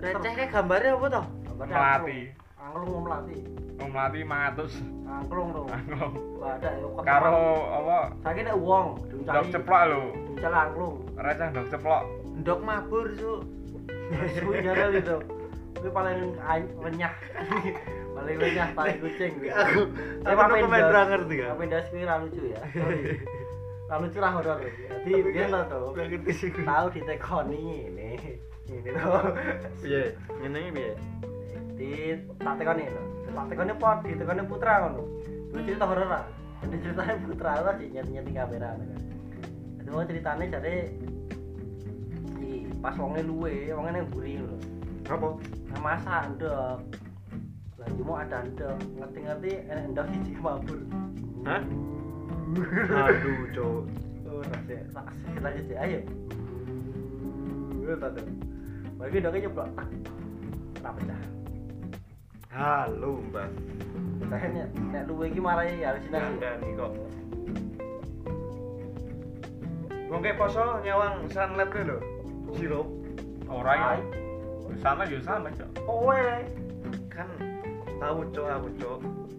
Speaker 2: recehke gambare apa to?
Speaker 3: melati
Speaker 1: Angklung mau melati.
Speaker 3: wong Nah, melati 500
Speaker 1: Angklung tuh.
Speaker 3: angklung
Speaker 1: Padahal yo kok-
Speaker 3: Ah. karo apa
Speaker 1: saiki nek uang
Speaker 3: dok
Speaker 1: diuncali.
Speaker 3: ceplok lho
Speaker 1: Diuncali angklung.
Speaker 3: receh dok ceplok
Speaker 2: Ndok mabur, Cuk.
Speaker 1: Suwi jaral itu. Gue gitu. paling ay- renyah. (laughs) paling renyah paling kucing gue.
Speaker 2: Aku aku
Speaker 1: Tapi
Speaker 2: komen
Speaker 1: Mendes-
Speaker 2: ra ngerti kan.
Speaker 1: Tapi das gue ra lucu ya. Sorry. Ra lucu ra horor. ya. Jadi dia lo tuh
Speaker 2: Ra ngerti sih kuwi.
Speaker 1: tahu ditekoni ini. Ini tuh.
Speaker 4: Piye? Ngene iki piye?
Speaker 1: Di tak tekoni lho. Tak tekoni pot, ditekoni putra ngono. Lu cerita horor (laughs) ra? Jadi ceritanya putra lo sih nyet-nyeti kamera. ngono kan. Itu mau ceritanya jadi di- pas wongnya luwe, wongnya yang buri lho.
Speaker 4: Apa?
Speaker 1: Nah, masa ndok lah cuma ada ndok ngerti-ngerti enak ndok siji mabur
Speaker 2: (laughs)
Speaker 4: Hah? Aduh, cok.
Speaker 1: oh rasanya rasanya lanjut ya ayo Wuh, tante bagi ndoknya nyeblok tak tak pecah
Speaker 4: Halo, Mbak.
Speaker 1: pecahnya nek- nek luwe iki marane ya harus sinau
Speaker 4: Dandani kok. Wong kek poso nyawang sunlight kuwi lho. Sirup.
Speaker 3: ora ya sana yo sana cok
Speaker 1: kowe
Speaker 4: kan tahu cok aku cok.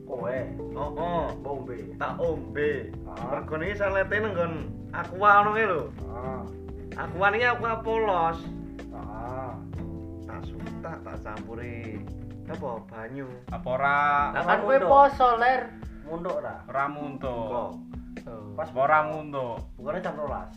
Speaker 1: kowe
Speaker 4: Oh, oh.
Speaker 1: bombe
Speaker 4: tak ombe.
Speaker 1: Ah.
Speaker 4: Mergo niki salete nggon aqua ngono ki lho.
Speaker 1: ah
Speaker 4: Aqua niki aqua polos.
Speaker 1: ah
Speaker 4: Tak suta tak campuri apa banyu.
Speaker 3: apa ora
Speaker 2: Lah kan kowe
Speaker 1: Munduk.
Speaker 2: poso ler.
Speaker 1: munduk ora
Speaker 3: ora muntuk
Speaker 4: Kok
Speaker 2: Oh.
Speaker 1: pas
Speaker 3: apa ora muntuk
Speaker 1: bukannya jam 12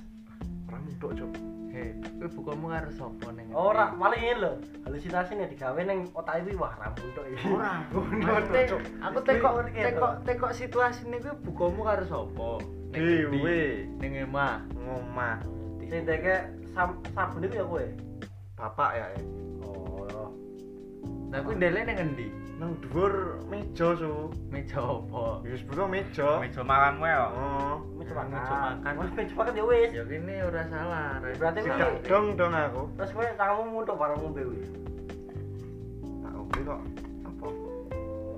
Speaker 4: ora mudok cok.
Speaker 2: Hei, kowe bukamu karo sapa ning?
Speaker 1: ora malah ini lho halusinasi nih digawe neng otak iki wah ra munduk iki
Speaker 2: Ora. Maksudnya, aku tekok tekok tekok situasi ini gue bukamu karo sapa? Ning ngendi?
Speaker 4: Dewe
Speaker 2: Ning emah.
Speaker 4: ngomah
Speaker 1: sing deke sam sabun iku ya kowe
Speaker 4: bapak ya. eh.
Speaker 1: oh
Speaker 2: Lah kuwi ndele ning ngendi?
Speaker 4: Nang dhuwur meja su.
Speaker 2: Meja opo?
Speaker 4: Wis butuh meja.
Speaker 3: meja makanmu ya
Speaker 4: Oh.
Speaker 1: meja makan
Speaker 2: Meja makan.
Speaker 1: Wah, meja makan ya wis
Speaker 2: Ya kene ora salah. Ren.
Speaker 1: Berarti
Speaker 2: Salah.
Speaker 1: kowe-
Speaker 4: Sidak dong dong aku.
Speaker 1: terus kowe tanganmu munduk bareng ngombe wis
Speaker 4: Tak ombe kok apa?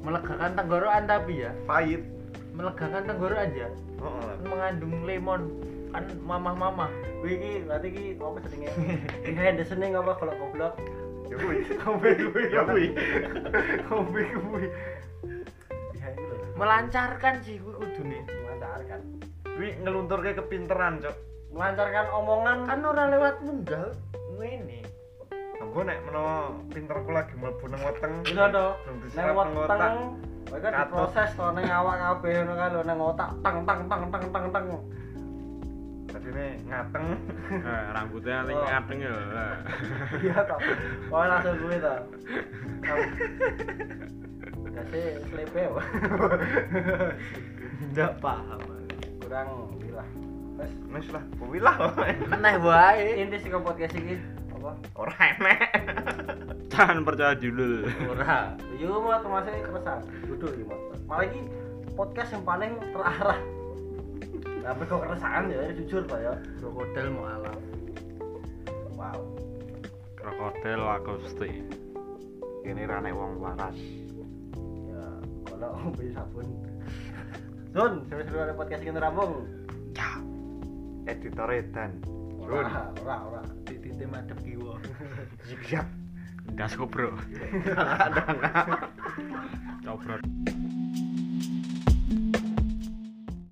Speaker 2: melegakan tenggorokan tapi ya.
Speaker 4: Pahit.
Speaker 2: Melegakan tenggorokan ya.
Speaker 4: Oh,
Speaker 2: Kan mengandung lemon kan mamah-mamah.
Speaker 1: Kuwi iki berarti iki apa
Speaker 2: (laughs)
Speaker 1: jenenge? Henderson ning apa kalau goblok?
Speaker 4: ya kuwi. (laughs) Ombe kuwi. Ya kuwi. Ombe kuwi.
Speaker 1: Ya itu lho,
Speaker 2: Melancarkan sih kuwi kudune.
Speaker 1: melancarkan.
Speaker 4: Kuwi ngelunturke kepinteran, Cok.
Speaker 1: Melancarkan omongan kan
Speaker 2: Kan ora lewat munggah ngene.
Speaker 4: Aku Nah, nek menawa pinterku lagi mlebu nang weteng.
Speaker 1: Iya, toh.
Speaker 4: Belum
Speaker 1: nang
Speaker 4: diserap nang
Speaker 1: weteng
Speaker 4: otak.
Speaker 1: kowe kan
Speaker 4: Katut.
Speaker 1: diproses to ning awak kabeh ngono kan lho nang otak tang tang tang tang tang tang.
Speaker 4: Tadine ngateng. (laughs)
Speaker 3: eh, rambutnya nanti
Speaker 1: Oh.
Speaker 3: ngadeng ya lah.
Speaker 1: (laughs) Iya toh. Kowe langsung kuwi to. Dase slepe wah.
Speaker 2: Ndak paham.
Speaker 1: kurang iki lah. Wes
Speaker 4: Wis lah, kuwi lah. (laughs)
Speaker 2: Aneh wae.
Speaker 1: inti sing podcast iki apa?
Speaker 4: Ora enek.
Speaker 3: jangan percaya dulu
Speaker 2: Ora.
Speaker 1: Yo mau termasuk keresan. Duduk iki mau. Malah iki podcast yang paling terarah. Tapi kok keresahan ya jujur Pak ya.
Speaker 2: Krokodil mau alam.
Speaker 1: Wow.
Speaker 3: krokodil lagosti ini rane wong waras
Speaker 1: Ya kalau (laughs) beli sabun. Sun, sampai seru ada podcast ini rambung.
Speaker 4: Editore dan
Speaker 1: Ora, ora, ora.
Speaker 2: Titik madhep kiwa.
Speaker 4: zigzag.
Speaker 3: das kobro cobrot